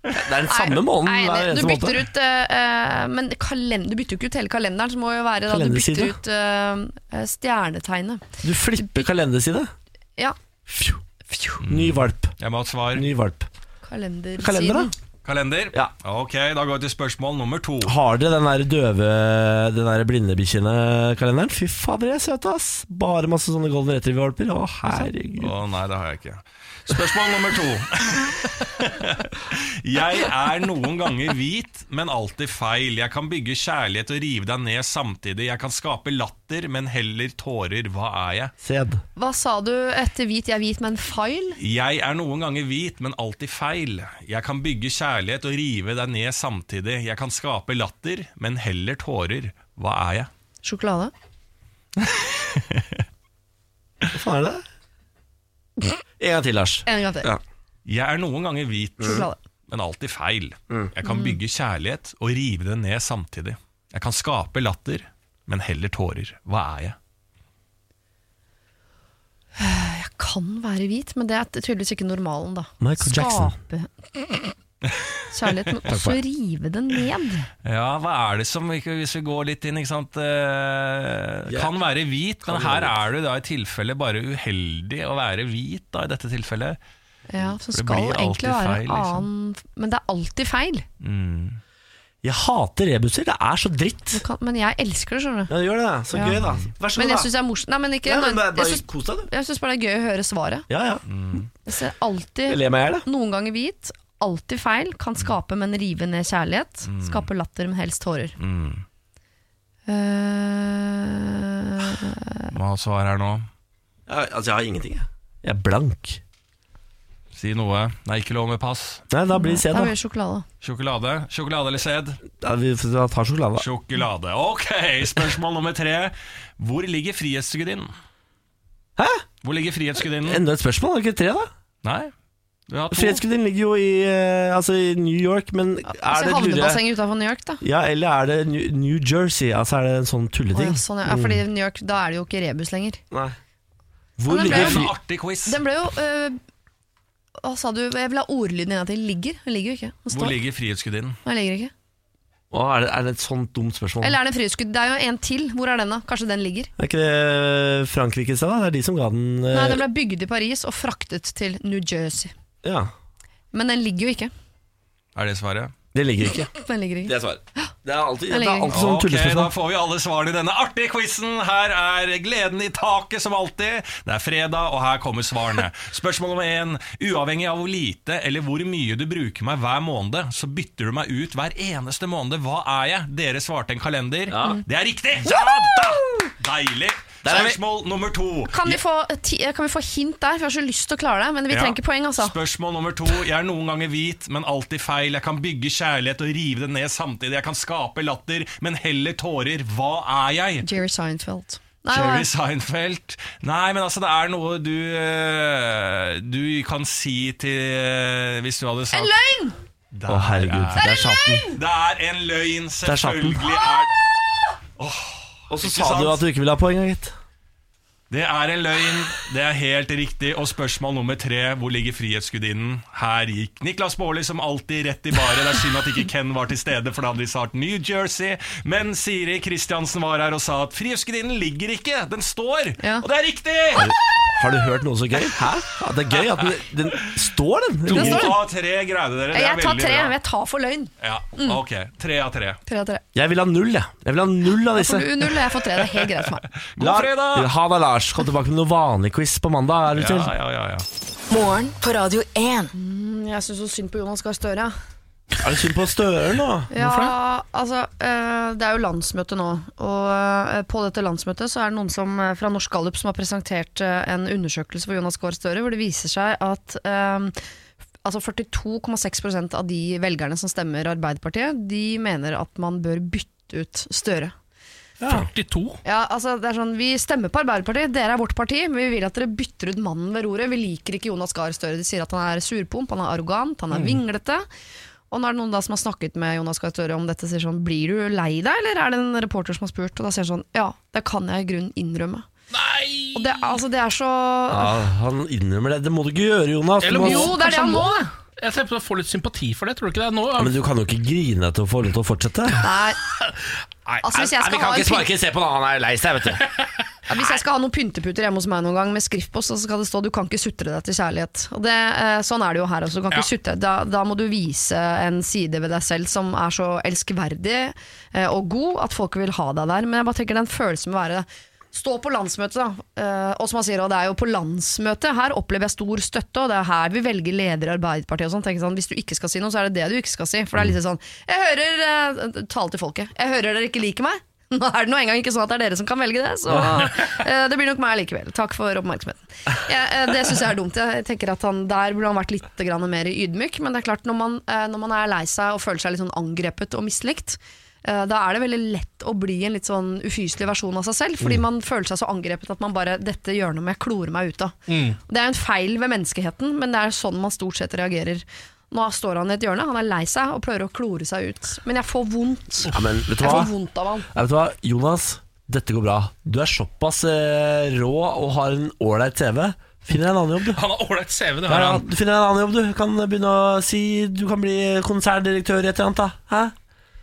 Speaker 3: Det er den
Speaker 4: Nei,
Speaker 3: samme månen
Speaker 4: nei,
Speaker 3: hver
Speaker 4: nei,
Speaker 3: eneste
Speaker 4: du bytter
Speaker 3: måned.
Speaker 4: ut eh, eh, Men kalend du bytter jo ikke ut hele kalenderen, så må jo være da, du bytter
Speaker 3: Kalenderside.
Speaker 4: ut eh, eh, stjernetegnet.
Speaker 3: Du flipper kalenderside.
Speaker 4: Ja.
Speaker 3: Fju. Ny valp.
Speaker 9: Jeg må ha et svar.
Speaker 3: Ny valp.
Speaker 4: Kalendersiden.
Speaker 3: Kalender, da?
Speaker 9: Kalender?
Speaker 3: Ja.
Speaker 9: Ok, da går vi til spørsmål nummer to.
Speaker 3: Har dere den der døve Den der blindebikkjene-kalenderen? Fy fader, jeg er søt, ass! Bare masse sånne golden retriever-valper. Å, herregud.
Speaker 9: Å nei, det har jeg ikke. Spørsmål nummer to. <laughs> Jeg er noen ganger hvit, men alltid feil. Jeg kan bygge kjærlighet og rive deg ned samtidig. Jeg kan skape latter, men heller tårer. Hva er jeg?
Speaker 3: Sæd.
Speaker 4: Hva sa du etter hvit? Jeg er hvit, men feil?
Speaker 9: Jeg er noen ganger hvit, men alltid feil. Jeg kan bygge kjærlighet og rive deg ned samtidig. Jeg kan skape latter, men heller tårer. Hva er jeg?
Speaker 4: Sjokolade?
Speaker 3: Hva faen er det? En gang til, Lars.
Speaker 4: En gang til. Mm.
Speaker 3: Ja.
Speaker 9: Jeg er noen ganger hvit,
Speaker 4: Sjokolade. Mm.
Speaker 9: men alltid feil. Jeg kan bygge kjærlighet og rive det ned samtidig. Jeg kan skape latter, men heller tårer. Hva er jeg?
Speaker 4: Jeg kan være hvit, men det er tydeligvis ikke normalen, da.
Speaker 3: Michael Jackson.
Speaker 4: Skape kjærlighet,
Speaker 3: <laughs>
Speaker 4: men også rive den ned.
Speaker 9: Ja, hva er det som ikke- Hvis vi går litt inn, ikke sant eh,
Speaker 3: Ja.
Speaker 9: Kan være hvit, men
Speaker 3: Kan
Speaker 9: her
Speaker 3: være
Speaker 9: er du da i tilfelle bare uheldig å være hvit, da, i dette tilfellet.
Speaker 4: Ja, Som
Speaker 9: det
Speaker 4: skal
Speaker 9: blir alltid
Speaker 4: egentlig være
Speaker 9: feil, liksom.
Speaker 4: annen Men det er alltid feil.
Speaker 3: Jeg hater rebuser. Det er så dritt.
Speaker 4: Du kan, men jeg elsker det, skjønner du.
Speaker 3: Ja, det gjør det. Så
Speaker 4: Ja.
Speaker 3: gøy, da. Vær så god,
Speaker 4: Men jeg
Speaker 3: da.
Speaker 4: syns det er morsomt. Nei, men ikke
Speaker 3: Ja, men bare,
Speaker 4: jeg
Speaker 3: bare
Speaker 4: synes- Mm.
Speaker 3: kos deg, du.
Speaker 4: Jeg syns bare det er gøy å høre svaret.
Speaker 3: Ja, ja.
Speaker 4: Jeg ser
Speaker 3: Jeg
Speaker 4: alltid
Speaker 3: ler meg i hjel, da.
Speaker 4: noen ganger hvit, alltid feil. Kan skape, men rive ned kjærlighet. Skape latter, men helst tårer. Eh,
Speaker 9: Hva svar her nå?
Speaker 3: Ja, altså, jeg har ingenting, jeg. Jeg er blank.
Speaker 9: Si noe. Nei, ikke lov med pass.
Speaker 3: Nei, da blir det sæd,
Speaker 4: da blir
Speaker 3: da.
Speaker 4: det sjokolade.
Speaker 9: Sjokolade. Sjokolade eller sæd?
Speaker 3: Ja, vi da tar sjokolade, da.
Speaker 9: Sjokolade. Ok, spørsmål nummer tre. Hvor ligger frihetsgudinnen?
Speaker 3: Hæ?
Speaker 9: Hvor ligger frihetsgudinnen?
Speaker 3: Enda et spørsmål, er det ikke tre, da?
Speaker 9: Nei, du har to.
Speaker 3: Frihetsgudinnen ligger jo i, eh, altså, i New York, men er
Speaker 4: Altså,
Speaker 3: det lurer jeg-
Speaker 4: Havnebassenget utafor New York, da.
Speaker 3: Ja, eller er det New, New Jersey? Altså er det en sånn
Speaker 4: Å, ja,
Speaker 3: tulleting?
Speaker 4: sånn, ja. ja, fordi New York, da er det jo ikke rebus lenger.
Speaker 3: Nei. Hvor
Speaker 4: Men den
Speaker 3: ligger
Speaker 4: ble jo-
Speaker 3: fly-
Speaker 4: Den ble jo øh, Hva sa du? Jeg vil ha ordlyden en gang til. Ligger? Den ligger jo ikke. Den
Speaker 9: Hvor
Speaker 4: står.
Speaker 9: ligger Frihetsgudinnen?
Speaker 4: Den ligger ikke.
Speaker 3: Å, er, det, er det et sånt dumt spørsmål?
Speaker 4: Eller er det en fryskudd? Det er jo en til. Hvor er den, da? Kanskje den ligger?
Speaker 3: Er ikke det Frankrike i sted, da? Det er de som ga den eh,
Speaker 4: Nei, den ble bygd i Paris og fraktet til New Jersey.
Speaker 3: Ja,
Speaker 4: Men den ligger jo ikke.
Speaker 9: Er det svaret?
Speaker 3: det ligger ikke.
Speaker 4: Den ligger ikke.
Speaker 3: er svaret. Det er alltid,
Speaker 4: Den
Speaker 3: det er
Speaker 4: ligger
Speaker 3: alltid sånn
Speaker 9: Ok, da
Speaker 3: tullespørsmål.
Speaker 9: får vi alle svarene i denne artige quizen. Her er gleden i taket som alltid. Det er fredag, og her kommer svarene. Spørsmål nummer én. Uavhengig av hvor lite eller hvor mye du bruker meg hver måned, så bytter du meg ut hver eneste måned. Hva er jeg? Dere svarte en kalender. Det er riktig! Ja da! Deilig.
Speaker 3: Der er vi.
Speaker 9: Spørsmål nummer to.
Speaker 4: Kan vi, få, ti, eh, kan vi få hint der? For jeg har så lyst til å klare det, men vi
Speaker 9: Ja.
Speaker 4: trenger ikke poeng, altså.
Speaker 9: Spørsmål nummer to. Jeg er noen ganger hvit, men alltid feil. Jeg kan bygge kjærlighet og rive det ned samtidig. Jeg kan skape latter, men heller tårer. Hva er jeg?
Speaker 4: Jerry Seinfeld. Nei, hva
Speaker 9: Jerry
Speaker 4: er-
Speaker 9: Seinfeld. Nei, men altså, det er noe du eh, Du kan si til eh, Hvis du hadde
Speaker 4: En
Speaker 9: sagt
Speaker 4: løgn!
Speaker 9: Der
Speaker 3: Å, herregud.
Speaker 9: Er,
Speaker 3: Der satt den.
Speaker 9: det er en løgn!
Speaker 3: Der satt den.
Speaker 9: Selvfølgelig er
Speaker 3: Og så
Speaker 9: Ikke
Speaker 3: sa du
Speaker 9: sant?
Speaker 3: at du ikke ville ha poeng, gitt.
Speaker 9: Det er en løgn, det er helt riktig. Og spørsmål nummer tre, hvor ligger Frihetsgudinnen? Her gikk Niklas Baarli som alltid rett i baret. Det er synd at
Speaker 4: <laughs>
Speaker 9: ikke Ken var til stede, for da hadde de svart New Jersey. Men Siri Kristiansen var her og sa at Frihetsgudinnen ligger ikke, den står!
Speaker 4: Ja.
Speaker 9: Og det er riktig!
Speaker 3: Har du hørt noe så gøy? Hæ? Ja, det er gøy at den, den står, den.
Speaker 9: To
Speaker 3: Den står.
Speaker 9: av tre greide dere. Det er
Speaker 4: Jeg tar
Speaker 9: veldig
Speaker 4: tre.
Speaker 9: bra.
Speaker 4: men Jeg tar for løgn.
Speaker 9: Ja, ok. Tre av tre.
Speaker 4: Tre av tre.
Speaker 3: Jeg vil ha null, jeg. Jeg vil ha null av disse.
Speaker 4: Får du null, og jeg får tre. Det er helt greit for meg.
Speaker 9: God fredag!
Speaker 3: Ha det, Lars. Kom tilbake med noe vanlig quiz på mandag. Er du
Speaker 9: Ja,
Speaker 3: til?
Speaker 9: ja, ja, ja.
Speaker 6: Morgen på Radio 1.
Speaker 4: <laughs> Jeg syns så synd på Jonas Gahr Støre.
Speaker 3: Er det synd på Støre nå?
Speaker 4: Ja, altså, eh, det er jo landsmøte nå, og eh, på dette landsmøtet så er det noen som, eh, fra Norsk Gallup som har presentert eh, en undersøkelse for Jonas Gahr Støre, hvor det viser seg at eh, f- altså 42,6 av de velgerne som stemmer Arbeiderpartiet, de mener at man bør bytte ut Støre.
Speaker 5: 42?
Speaker 4: Ja, altså det er sånn, Vi stemmer på Arbeiderpartiet, dere er vårt parti, men vi vil at dere bytter ut mannen ved roret. Vi liker ikke Jonas Gahr Støre. De sier at han er surpomp, han er arrogant, han er vinglete. Og nå er det noen da som har snakket med Jonas Gahr Støre om dette, sier sånn Blir du lei deg, eller er det en reporter som har spurt? Og da sier han sånn Ja, det kan jeg i grunnen innrømme.
Speaker 5: Nei!
Speaker 4: Og det, altså, det er så
Speaker 3: Ja, han innrømmer det. Det må du ikke gjøre, Jonas. Du
Speaker 5: Eller
Speaker 3: må...
Speaker 5: må-
Speaker 4: Jo, det er det han må! det.
Speaker 5: Jeg ser på å få litt sympati for det, tror du ikke det? Nå,
Speaker 3: Men du kan jo ikke grine til å få lov til å fortsette.
Speaker 4: Nei,
Speaker 5: Nei,
Speaker 4: altså hvis jeg skal ha en pynt-
Speaker 3: se på når han er lei seg, vet du.
Speaker 4: Ja, Hvis jeg skal ha noen pynteputer hjemme hos meg noen gang med skriftpost, så skal det stå 'du kan ikke sutre deg til kjærlighet'. Og det, eh, sånn er det jo her også. Du kan ikke
Speaker 5: Ja.
Speaker 4: sutre. Da, da må du vise en side ved deg selv som er så elskverdig eh, og god at folk vil ha deg der. Men jeg bare tenker den følelsen med å være Stå på landsmøtet, da. Eh, og som han sier, og det er jo på landsmøtet. Her opplever jeg stor støtte, og det er her vi velger leder i Arbeiderpartiet og sånn. Tenker sånn. Hvis du ikke skal si noe, så er det det du ikke skal si. For det er litt sånn Jeg hører eh, Tale til folket. Jeg hører dere ikke liker meg. <laughs> Nå er det nå engang ikke sånn at det er dere som kan velge det, så <laughs> eh, det blir nok meg likevel. Takk for oppmerksomheten. Ja, eh, det syns jeg er dumt. Jeg tenker at han, Der burde han vært litt grann mer ydmyk. Men det er klart, når man, eh, når man er lei seg og føler seg litt sånn angrepet og mislikt, eh, da er det veldig lett å bli en litt sånn ufyselig versjon av seg selv. Fordi man føler seg så angrepet at man bare 'Dette gjør noe med jeg klorer meg ut av'. Det er jo en feil ved menneskeheten, men det er sånn man stort sett reagerer. Nå står han i et hjørne, han er lei seg og prøver å klore seg ut. Men jeg får vondt.
Speaker 3: Ja, men vet du
Speaker 4: Jeg
Speaker 3: hva?
Speaker 4: får vondt av han.
Speaker 3: Ja, vet du hva, Jonas, dette går bra. Du er såpass eh, rå og har en ålreit TV. Finner deg en annen jobb, du.
Speaker 5: Han har ålreit CV, det
Speaker 3: Ja,
Speaker 5: har
Speaker 3: ja,
Speaker 5: han.
Speaker 3: du finner deg en annen jobb, du. Kan begynne å si Du kan bli konserndirektør i et eller annet, da. Hæ?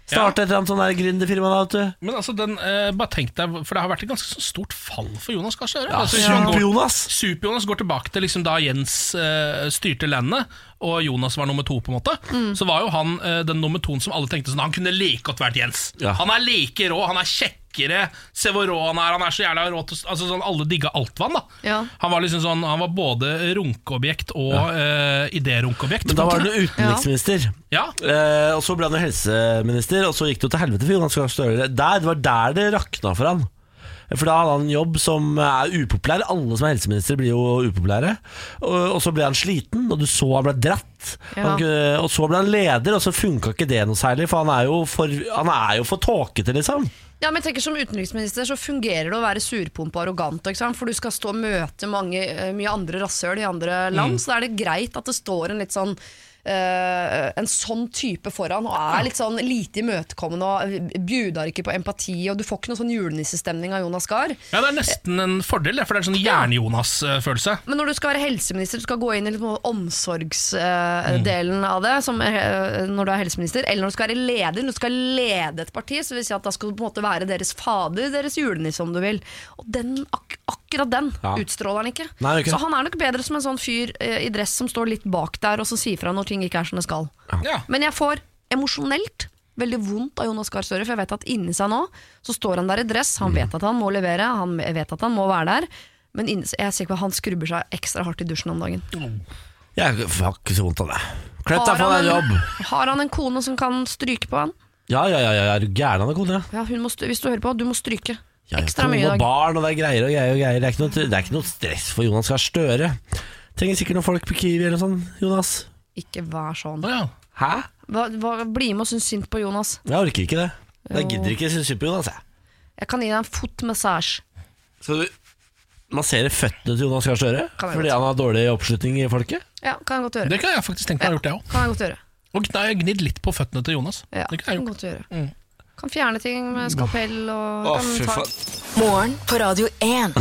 Speaker 3: Starte et eller annet sånn der gründerfirma, da, vet du.
Speaker 5: Men altså, den, eh, bare tenk deg, for det har vært et ganske så stort fall for Jonas Gahr Støre.
Speaker 3: Ja,
Speaker 5: altså, hvis man går-
Speaker 3: Super-Jonas.
Speaker 5: Super-Jonas går tilbake til liksom da Jens eh, styrte landet, og Jonas var nummer to, på en måte. Så var jo han eh, den nummer toen som alle tenkte sånn Han kunne like godt vært Jens.
Speaker 3: Ja.
Speaker 5: Han er like rå, han er kjekkere, se hvor rå han er, han er så jævla rå til altså, sånn, Alle digga Altvann, da.
Speaker 4: Ja.
Speaker 5: Han var liksom sånn Han var både runkeobjekt og eh, idérunkeobjekt.
Speaker 3: Men da
Speaker 5: på en
Speaker 3: var
Speaker 5: måte.
Speaker 3: du utenriksminister.
Speaker 5: Ja.
Speaker 3: Eh, og så ble han jo helseminister, og så gikk det jo til helvete for Jonas Gahr Støre. Der, det var der det rakna for han. For da hadde han en jobb som er upopulær. Alle som er helseminister, blir jo upopulære. Og, og så ble han sliten, og du så han ble dratt.
Speaker 4: Ja.
Speaker 3: Han, kunne- og så ble han leder, og så funka ikke det noe særlig, for han er jo for, han er jo for tåkete, liksom.
Speaker 4: Ja, men jeg tenker Som utenriksminister så fungerer det å være surpompe og arrogant. Ikke sant? For du skal stå og møte mange, eh, mye andre rasshøl i andre land, så da er det greit at det står en litt sånn eh, en sånn type foran og er litt sånn lite imøtekommende og bjuder ikke på empati, og du får ikke noe sånn julenissestemning av Jonas Gahr.
Speaker 5: Ja, Det er nesten en fordel, det, for det er en sånn Jern-Jonas-følelse.
Speaker 4: Men når du skal være helseminister, du skal gå inn i liksom omsorgsdelen av det som, eh, når du er helseminister, eller når du skal være leder, når du skal lede et parti, så vil si at da skal du på en måte være deres fader, deres julenisse, om du vil. Og den, ak akkurat den
Speaker 3: Ja.
Speaker 4: utstråler han ikke.
Speaker 3: Nei, det er ikke det.
Speaker 4: Så han er nok bedre som en sånn fyr eh, i dress som står litt bak der, og som sier fra når ting ikke er som det skal.
Speaker 5: Ja.
Speaker 4: Men jeg får emosjonelt veldig vondt av Jonas Gahr Støre, for jeg vet at inni seg nå så står han der i dress, han vet at han må levere, han vet at han må være der. Men inni, jeg er sikker på at han skrubber seg ekstra hardt i dusjen om dagen.
Speaker 3: Jeg har ikke så vondt av det. Klepp deg, få
Speaker 4: han
Speaker 3: deg en jobb.
Speaker 4: en, har han en kone som kan stryke på han?
Speaker 3: Ja, ja, ja, ja, ja, er du gæren av kone?
Speaker 4: Ja, hun må, st- hvis du hører på, du må stryke.
Speaker 3: Ja, ja,
Speaker 4: Ekstra
Speaker 3: kone
Speaker 4: mye i
Speaker 3: og
Speaker 4: dag.
Speaker 3: barn, og det er greier og greier. og greier. Det er ikke noe, det er ikke noe stress for Jonas Gahr Støre. Trenger sikkert noen folk på Kiwi eller sånn, Jonas.
Speaker 4: Ikke vær sånn.
Speaker 3: Hæ?
Speaker 4: Hva, hva, bli med og synes synd på Jonas.
Speaker 3: Jeg orker ikke det. Jeg
Speaker 4: Jo.
Speaker 3: gidder ikke synes synd på Jonas, jeg.
Speaker 4: Jeg kan gi deg en fotmassasje.
Speaker 3: Skal du massere føttene til Jonas Gahr Støre
Speaker 4: Kan jeg
Speaker 3: fordi
Speaker 4: godt.
Speaker 3: han har dårlig oppslutning i folket?
Speaker 4: Ja, kan jeg godt gjøre.
Speaker 5: Det kan jeg faktisk tenke meg å ha gjort, jeg òg.
Speaker 4: Kan jeg godt gjøre.
Speaker 5: Og gn- jeg har gnidd litt på føttene til Jonas.
Speaker 4: Ja,
Speaker 5: Det kan jeg
Speaker 4: kan
Speaker 5: gjøre.
Speaker 4: godt gjøre. Kan fjerne ting med skapell og kan ta-
Speaker 6: Morgen på Radio 1.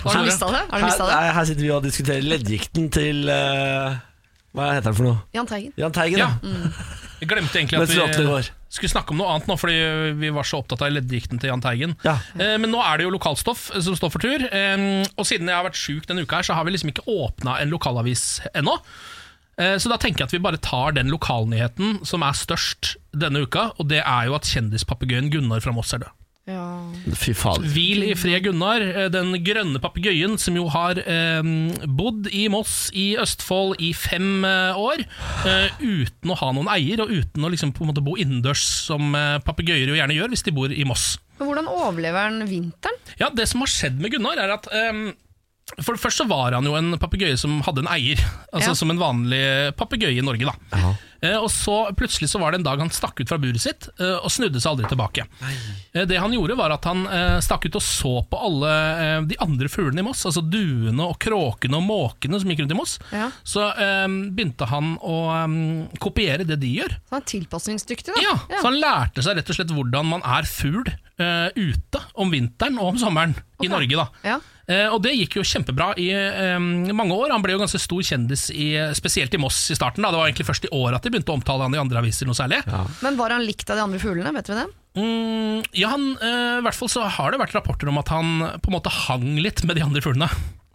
Speaker 4: Har du mista det? Har du
Speaker 3: Her,
Speaker 4: mistet det?
Speaker 3: nei, her sitter vi og diskuterer leddgikten til eh, Hva heter han for noe?
Speaker 4: Jahn Teigen.
Speaker 3: Jahn Teigen,
Speaker 5: Ja.
Speaker 3: da.
Speaker 5: Jeg glemte egentlig
Speaker 3: Mens
Speaker 5: at
Speaker 3: låtene
Speaker 5: vi
Speaker 3: går.
Speaker 5: skulle snakke om noe annet nå, fordi vi var så opptatt av leddgikten til Jahn Teigen.
Speaker 3: Ja.
Speaker 5: Eh, Men nå er det jo lokalstoff eh, som står for tur. Eh, Og siden jeg har vært sjuk denne uka, her, så har vi liksom ikke åpna en lokalavis ennå. Eh, Så da tenker jeg at vi bare tar den lokalnyheten som er størst denne uka, og det er jo at kjendispapegøyen Gunnar fra Moss er død.
Speaker 3: Fy faen.
Speaker 5: Hvil i fred, Gunnar. Eh, Den grønne papegøyen som jo har eh, bodd i Moss i Østfold i fem eh, år, eh, uten å ha noen eier, og uten å liksom på en måte bo innendørs, som eh, papegøyer jo gjerne gjør hvis de bor i Moss.
Speaker 4: Men hvordan overlever han vinteren?
Speaker 5: Ja, det som har skjedd med Gunnar er at ehm, For det første så var han jo en papegøye som hadde en eier. Altså
Speaker 4: Ja.
Speaker 5: Som en vanlig papegøye i Norge. da Eh, Og så plutselig så var det en dag han stakk ut fra buret sitt eh, og snudde seg aldri tilbake. Eh, det han gjorde var at han eh, stakk ut og så på alle eh, de andre fuglene i Moss. Altså duene og kråkene og måkene som gikk rundt i Moss.
Speaker 4: Ja.
Speaker 5: Så ehm, begynte han å ehm, kopiere det de gjør.
Speaker 4: Så han er tilpasningsdyktig, da.
Speaker 5: Ja, Så han lærte seg rett og slett hvordan man er fugl eh, ute om vinteren og om sommeren i Norge. da
Speaker 4: Ja.
Speaker 5: Eh, og det gikk jo kjempebra i eh, mange år. Han ble jo ganske stor kjendis, i, spesielt i Moss i starten. Da. Det var egentlig først i år at de begynte å omtale han i andre aviser noe særlig. Ja,
Speaker 4: Men var han likt av de andre fuglene? Vet vi det?
Speaker 5: mm, ja han, eh, i hvert fall så har det vært rapporter om at han på en måte hang litt med de andre fuglene.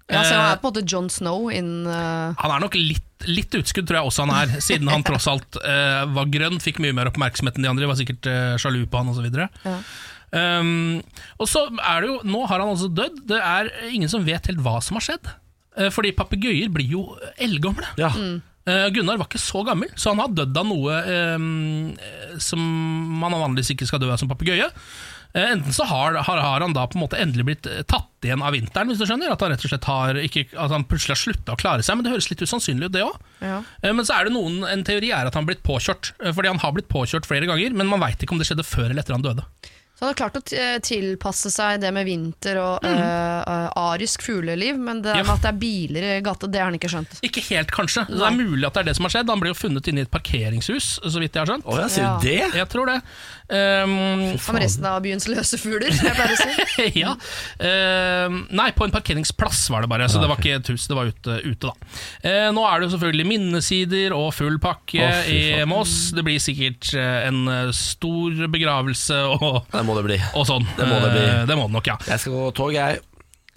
Speaker 4: Ja, så han
Speaker 5: Eh,
Speaker 4: er på en måte John Snow innen eh,
Speaker 5: han er nok litt, litt utskudd, tror jeg også han er, siden han tross alt eh, var grønn, fikk mye mer oppmerksomhet enn de andre, var sikkert eh, sjalu på han osv.
Speaker 4: Ja.
Speaker 5: Um, og så er det jo, nå har han altså dødd, det er ingen som vet helt hva som har skjedd. Eh, Fordi papegøyer blir jo eldgamle.
Speaker 3: Ja.
Speaker 5: Eh, Gunnar var ikke så gammel, så han har dødd av noe eh, som man vanligvis ikke skal dø av som papegøye. Eh, enten så har, har, har han da på en måte endelig blitt eh, tatt igjen av vinteren, hvis du skjønner. At han rett og slett har ikke, at han plutselig har slutta å klare seg, men det høres litt usannsynlig ut, det òg.
Speaker 4: Ja.
Speaker 5: Men så er det noen, en teori er at han har blitt påkjørt, eh, fordi han har blitt påkjørt flere ganger, men man veit ikke om det skjedde før eller etter han døde.
Speaker 4: Så han har klart å t- eh, tilpasse seg det med vinter og eh, eh, arisk fugleliv, men det
Speaker 5: Mm. Ja.
Speaker 4: med at det er biler i gata, det har han ikke skjønt.
Speaker 5: Ikke helt, kanskje. Så Det er mulig at det er det som har skjedd. Han ble jo funnet inne i et parkeringshus, så vidt jeg har skjønt.
Speaker 3: Å ja, sier du det?
Speaker 5: Jeg tror det. Ehm, <laughs>
Speaker 4: Som resten av byens løse fugler, som jeg pleier å si.
Speaker 5: ja. Ehm, nei, på en parkeringsplass var det bare, så det var ikke et hus, det var ute. ute da. Eh, nå er det jo selvfølgelig minnesider og full pakke
Speaker 3: Å, fy
Speaker 5: i
Speaker 3: faen.
Speaker 5: Moss. Det blir sikkert eh, en eh, stor begravelse og,
Speaker 3: Det må det bli.
Speaker 5: og sånn.
Speaker 3: Det må det bli.
Speaker 5: Eh, det må det nok, ja.
Speaker 3: Jeg skal gå tog, jeg.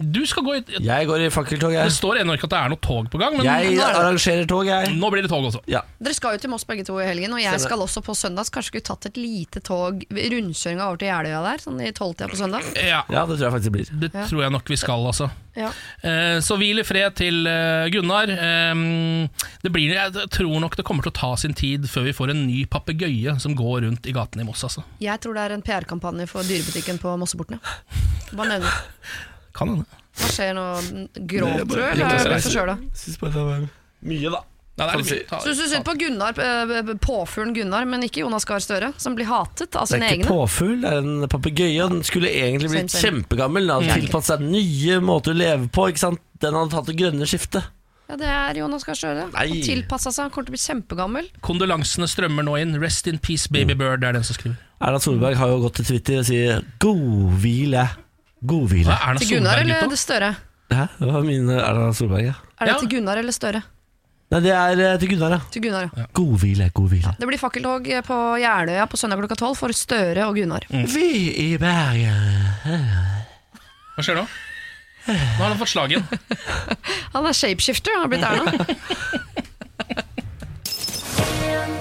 Speaker 5: Du skal gå i
Speaker 3: Jeg går i fakkeltog,
Speaker 5: Det
Speaker 3: jeg.
Speaker 5: står ennå ikke at det er noe tog på gang, men
Speaker 3: Jeg
Speaker 5: nå, er
Speaker 3: arrangerer tog,
Speaker 5: det,
Speaker 3: jeg.
Speaker 5: nå blir det tog også.
Speaker 4: Dere skal jo til Moss begge to i helgen, og jeg skal også på søndag. Så kanskje skulle tatt et lite tog, rundkjøringa over til Jeløya der, sånn i tolvtida på søndag.
Speaker 5: Ja,
Speaker 3: Ja, det tror jeg faktisk det blir.
Speaker 5: det tror jeg nok vi skal, altså.
Speaker 4: Ja.
Speaker 5: Eh, Så hvil i fred til eh, Gunnar. Eh, Det blir, jeg tror nok det kommer til å ta sin tid før vi får en ny papegøye som går rundt i gatene i Moss. Altså.
Speaker 4: Jeg tror det er en PR-kampanje for dyrebutikken på Mosseportene. Bare nevne det.
Speaker 5: Kan hende.
Speaker 4: Hva skjer nå? Gråt, tror
Speaker 3: Nei,
Speaker 4: jeg? Eller
Speaker 3: jeg
Speaker 4: er
Speaker 3: bare-
Speaker 4: det forkjøla?
Speaker 3: Syns bare det var mye, da.
Speaker 5: Nei, det er
Speaker 3: Kan
Speaker 5: litt
Speaker 3: si.
Speaker 5: mye. Ta-
Speaker 4: Så du syns synd på Gunnar, eh, påfuglen Gunnar, men ikke Jonas Gahr Støre, som blir hatet av
Speaker 3: Det
Speaker 4: sine
Speaker 3: er ikke
Speaker 4: egne.
Speaker 3: påfugl, det er en papegøye. og Den skulle egentlig blitt
Speaker 4: Svein, Svein.
Speaker 3: kjempegammel. Den hadde
Speaker 4: Ja.
Speaker 3: tilpasset seg nye måter å leve på. Ikke sant? Den hadde tatt det grønne skiftet.
Speaker 4: Ja, det er Jonas Gahr Støre.
Speaker 5: Nei.
Speaker 4: Han tilpassa seg, han kommer til å bli kjempegammel.
Speaker 5: Kondolansene strømmer nå inn. Rest in peace,
Speaker 4: Mm.
Speaker 5: baby bird, er den som skriver.
Speaker 3: Erna Solberg har jo gått til Twitter og sier 'god hvile'. God hvile.
Speaker 5: Hva, Erna
Speaker 4: Til Gunnar eller det Støre?
Speaker 3: Hæ? Det var min eh, Erna Solberg, ja.
Speaker 4: Er det til Gunnar eller Støre?
Speaker 3: Nei, det er eh, til Gunnar, ja.
Speaker 4: Til Gunnar, ja.
Speaker 3: God hvile, god hvile.
Speaker 4: Det blir fakkeltog eh, på Jeløya på søndag klokka tolv for Støre og Gunnar.
Speaker 5: Mm.
Speaker 3: Vi i Bergen
Speaker 5: Hva
Speaker 4: <sighs>
Speaker 5: skjer nå? Nå har han fått slagen.
Speaker 4: Han er shapeshifter, han har blitt
Speaker 3: <laughs>
Speaker 4: Erna.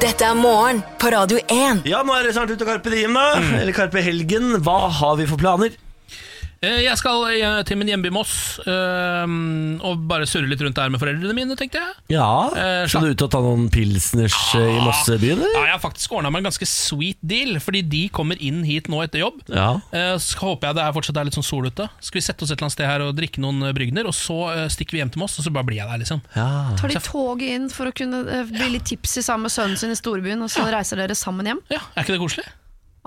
Speaker 6: Dette er morgen på Radio 1.
Speaker 3: Ja, nå er det snart ute Karpe Diem, da.
Speaker 5: Mm.
Speaker 3: Eller Karpe Helgen. Hva har vi for planer?
Speaker 5: Eh, Jeg skal eh, til min hjemby Moss eh, og bare surre litt rundt der med foreldrene mine, tenkte jeg.
Speaker 3: Ja,
Speaker 5: Eh,
Speaker 3: Skal du ut og ta noen pilsners eh, i Mossebyen,
Speaker 5: Ja,
Speaker 3: eller?
Speaker 5: jeg har faktisk ordna meg en ganske sweet deal, fordi de kommer inn hit nå etter jobb.
Speaker 3: Ja.
Speaker 5: Eh, Så håper jeg det er fortsatt er litt sånn sol ute. Skal vi sette oss et eller annet sted her og drikke noen eh, brygner, og så eh, stikker vi hjem til Moss, og så bare blir jeg der, liksom.
Speaker 3: ja.
Speaker 4: Tar de toget inn for å kunne eh, bli litt tipsy sammen med sønnen sin i storbyen, og så reiser dere sammen hjem?
Speaker 5: Ja, Er ikke det koselig?
Speaker 4: Åh,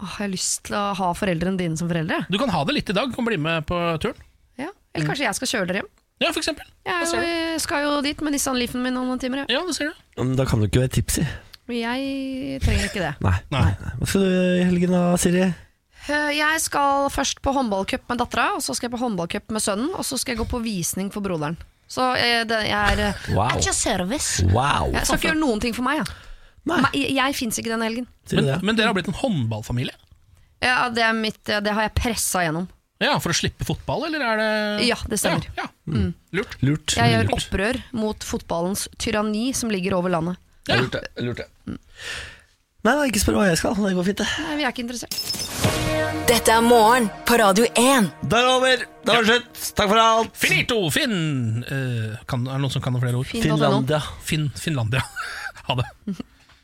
Speaker 4: Ah, jeg har lyst til å ha foreldrene dine som foreldre.
Speaker 5: Du kan ha det litt i dag, du kan bli med på turen.
Speaker 4: Ja. Eller kanskje jeg skal kjøre dere hjem.
Speaker 5: Ja, for eksempel.
Speaker 4: Jeg er jo, jeg skal jo dit med Nissan Leafen min om noen timer.
Speaker 5: Ja, det ser du.
Speaker 3: Men Da kan du ikke være tipsy.
Speaker 4: Men jeg trenger ikke det.
Speaker 3: Nei.
Speaker 5: Nei.
Speaker 3: Hva skal du gjøre i helgen da, Siri?
Speaker 4: <laughs> Eh, Jeg skal først på håndballcup med dattera, og så skal jeg på håndballcup med sønnen, og så skal jeg gå på visning for broderen. Så eh, det, jeg er eh,
Speaker 3: Wow.
Speaker 4: at your service.
Speaker 3: Wow.
Speaker 4: Jeg skal ikke gjøre noen ting for meg. Ja.
Speaker 3: Nei.
Speaker 4: Me- Jeg, jeg fins ikke denne helgen.
Speaker 3: Sier
Speaker 5: Men,
Speaker 3: du det?
Speaker 5: men dere har blitt en håndballfamilie?
Speaker 4: Ja, det, er mitt, eh, det har jeg pressa gjennom.
Speaker 5: Ja, For å slippe fotball, eller er det
Speaker 4: Ja, det stemmer. Mm.
Speaker 5: Ja, ja. Lurt.
Speaker 3: Lurt.
Speaker 4: Jeg gjør opprør mot fotballens tyranni som ligger over landet.
Speaker 3: Nei, nei, ikke spør hva jeg skal. Det går fint, det.
Speaker 4: Nei, vi er ikke interessert.
Speaker 6: Dette er morgen på Radio 1.
Speaker 3: Da er det over. Da var det slutt. Takk for alt.
Speaker 5: Finito! Finn! eh, kan, er det noen som kan noen flere ord?
Speaker 4: Finn.no.
Speaker 3: Finlandia.
Speaker 5: Finn, Finlandia. <laughs> ha det.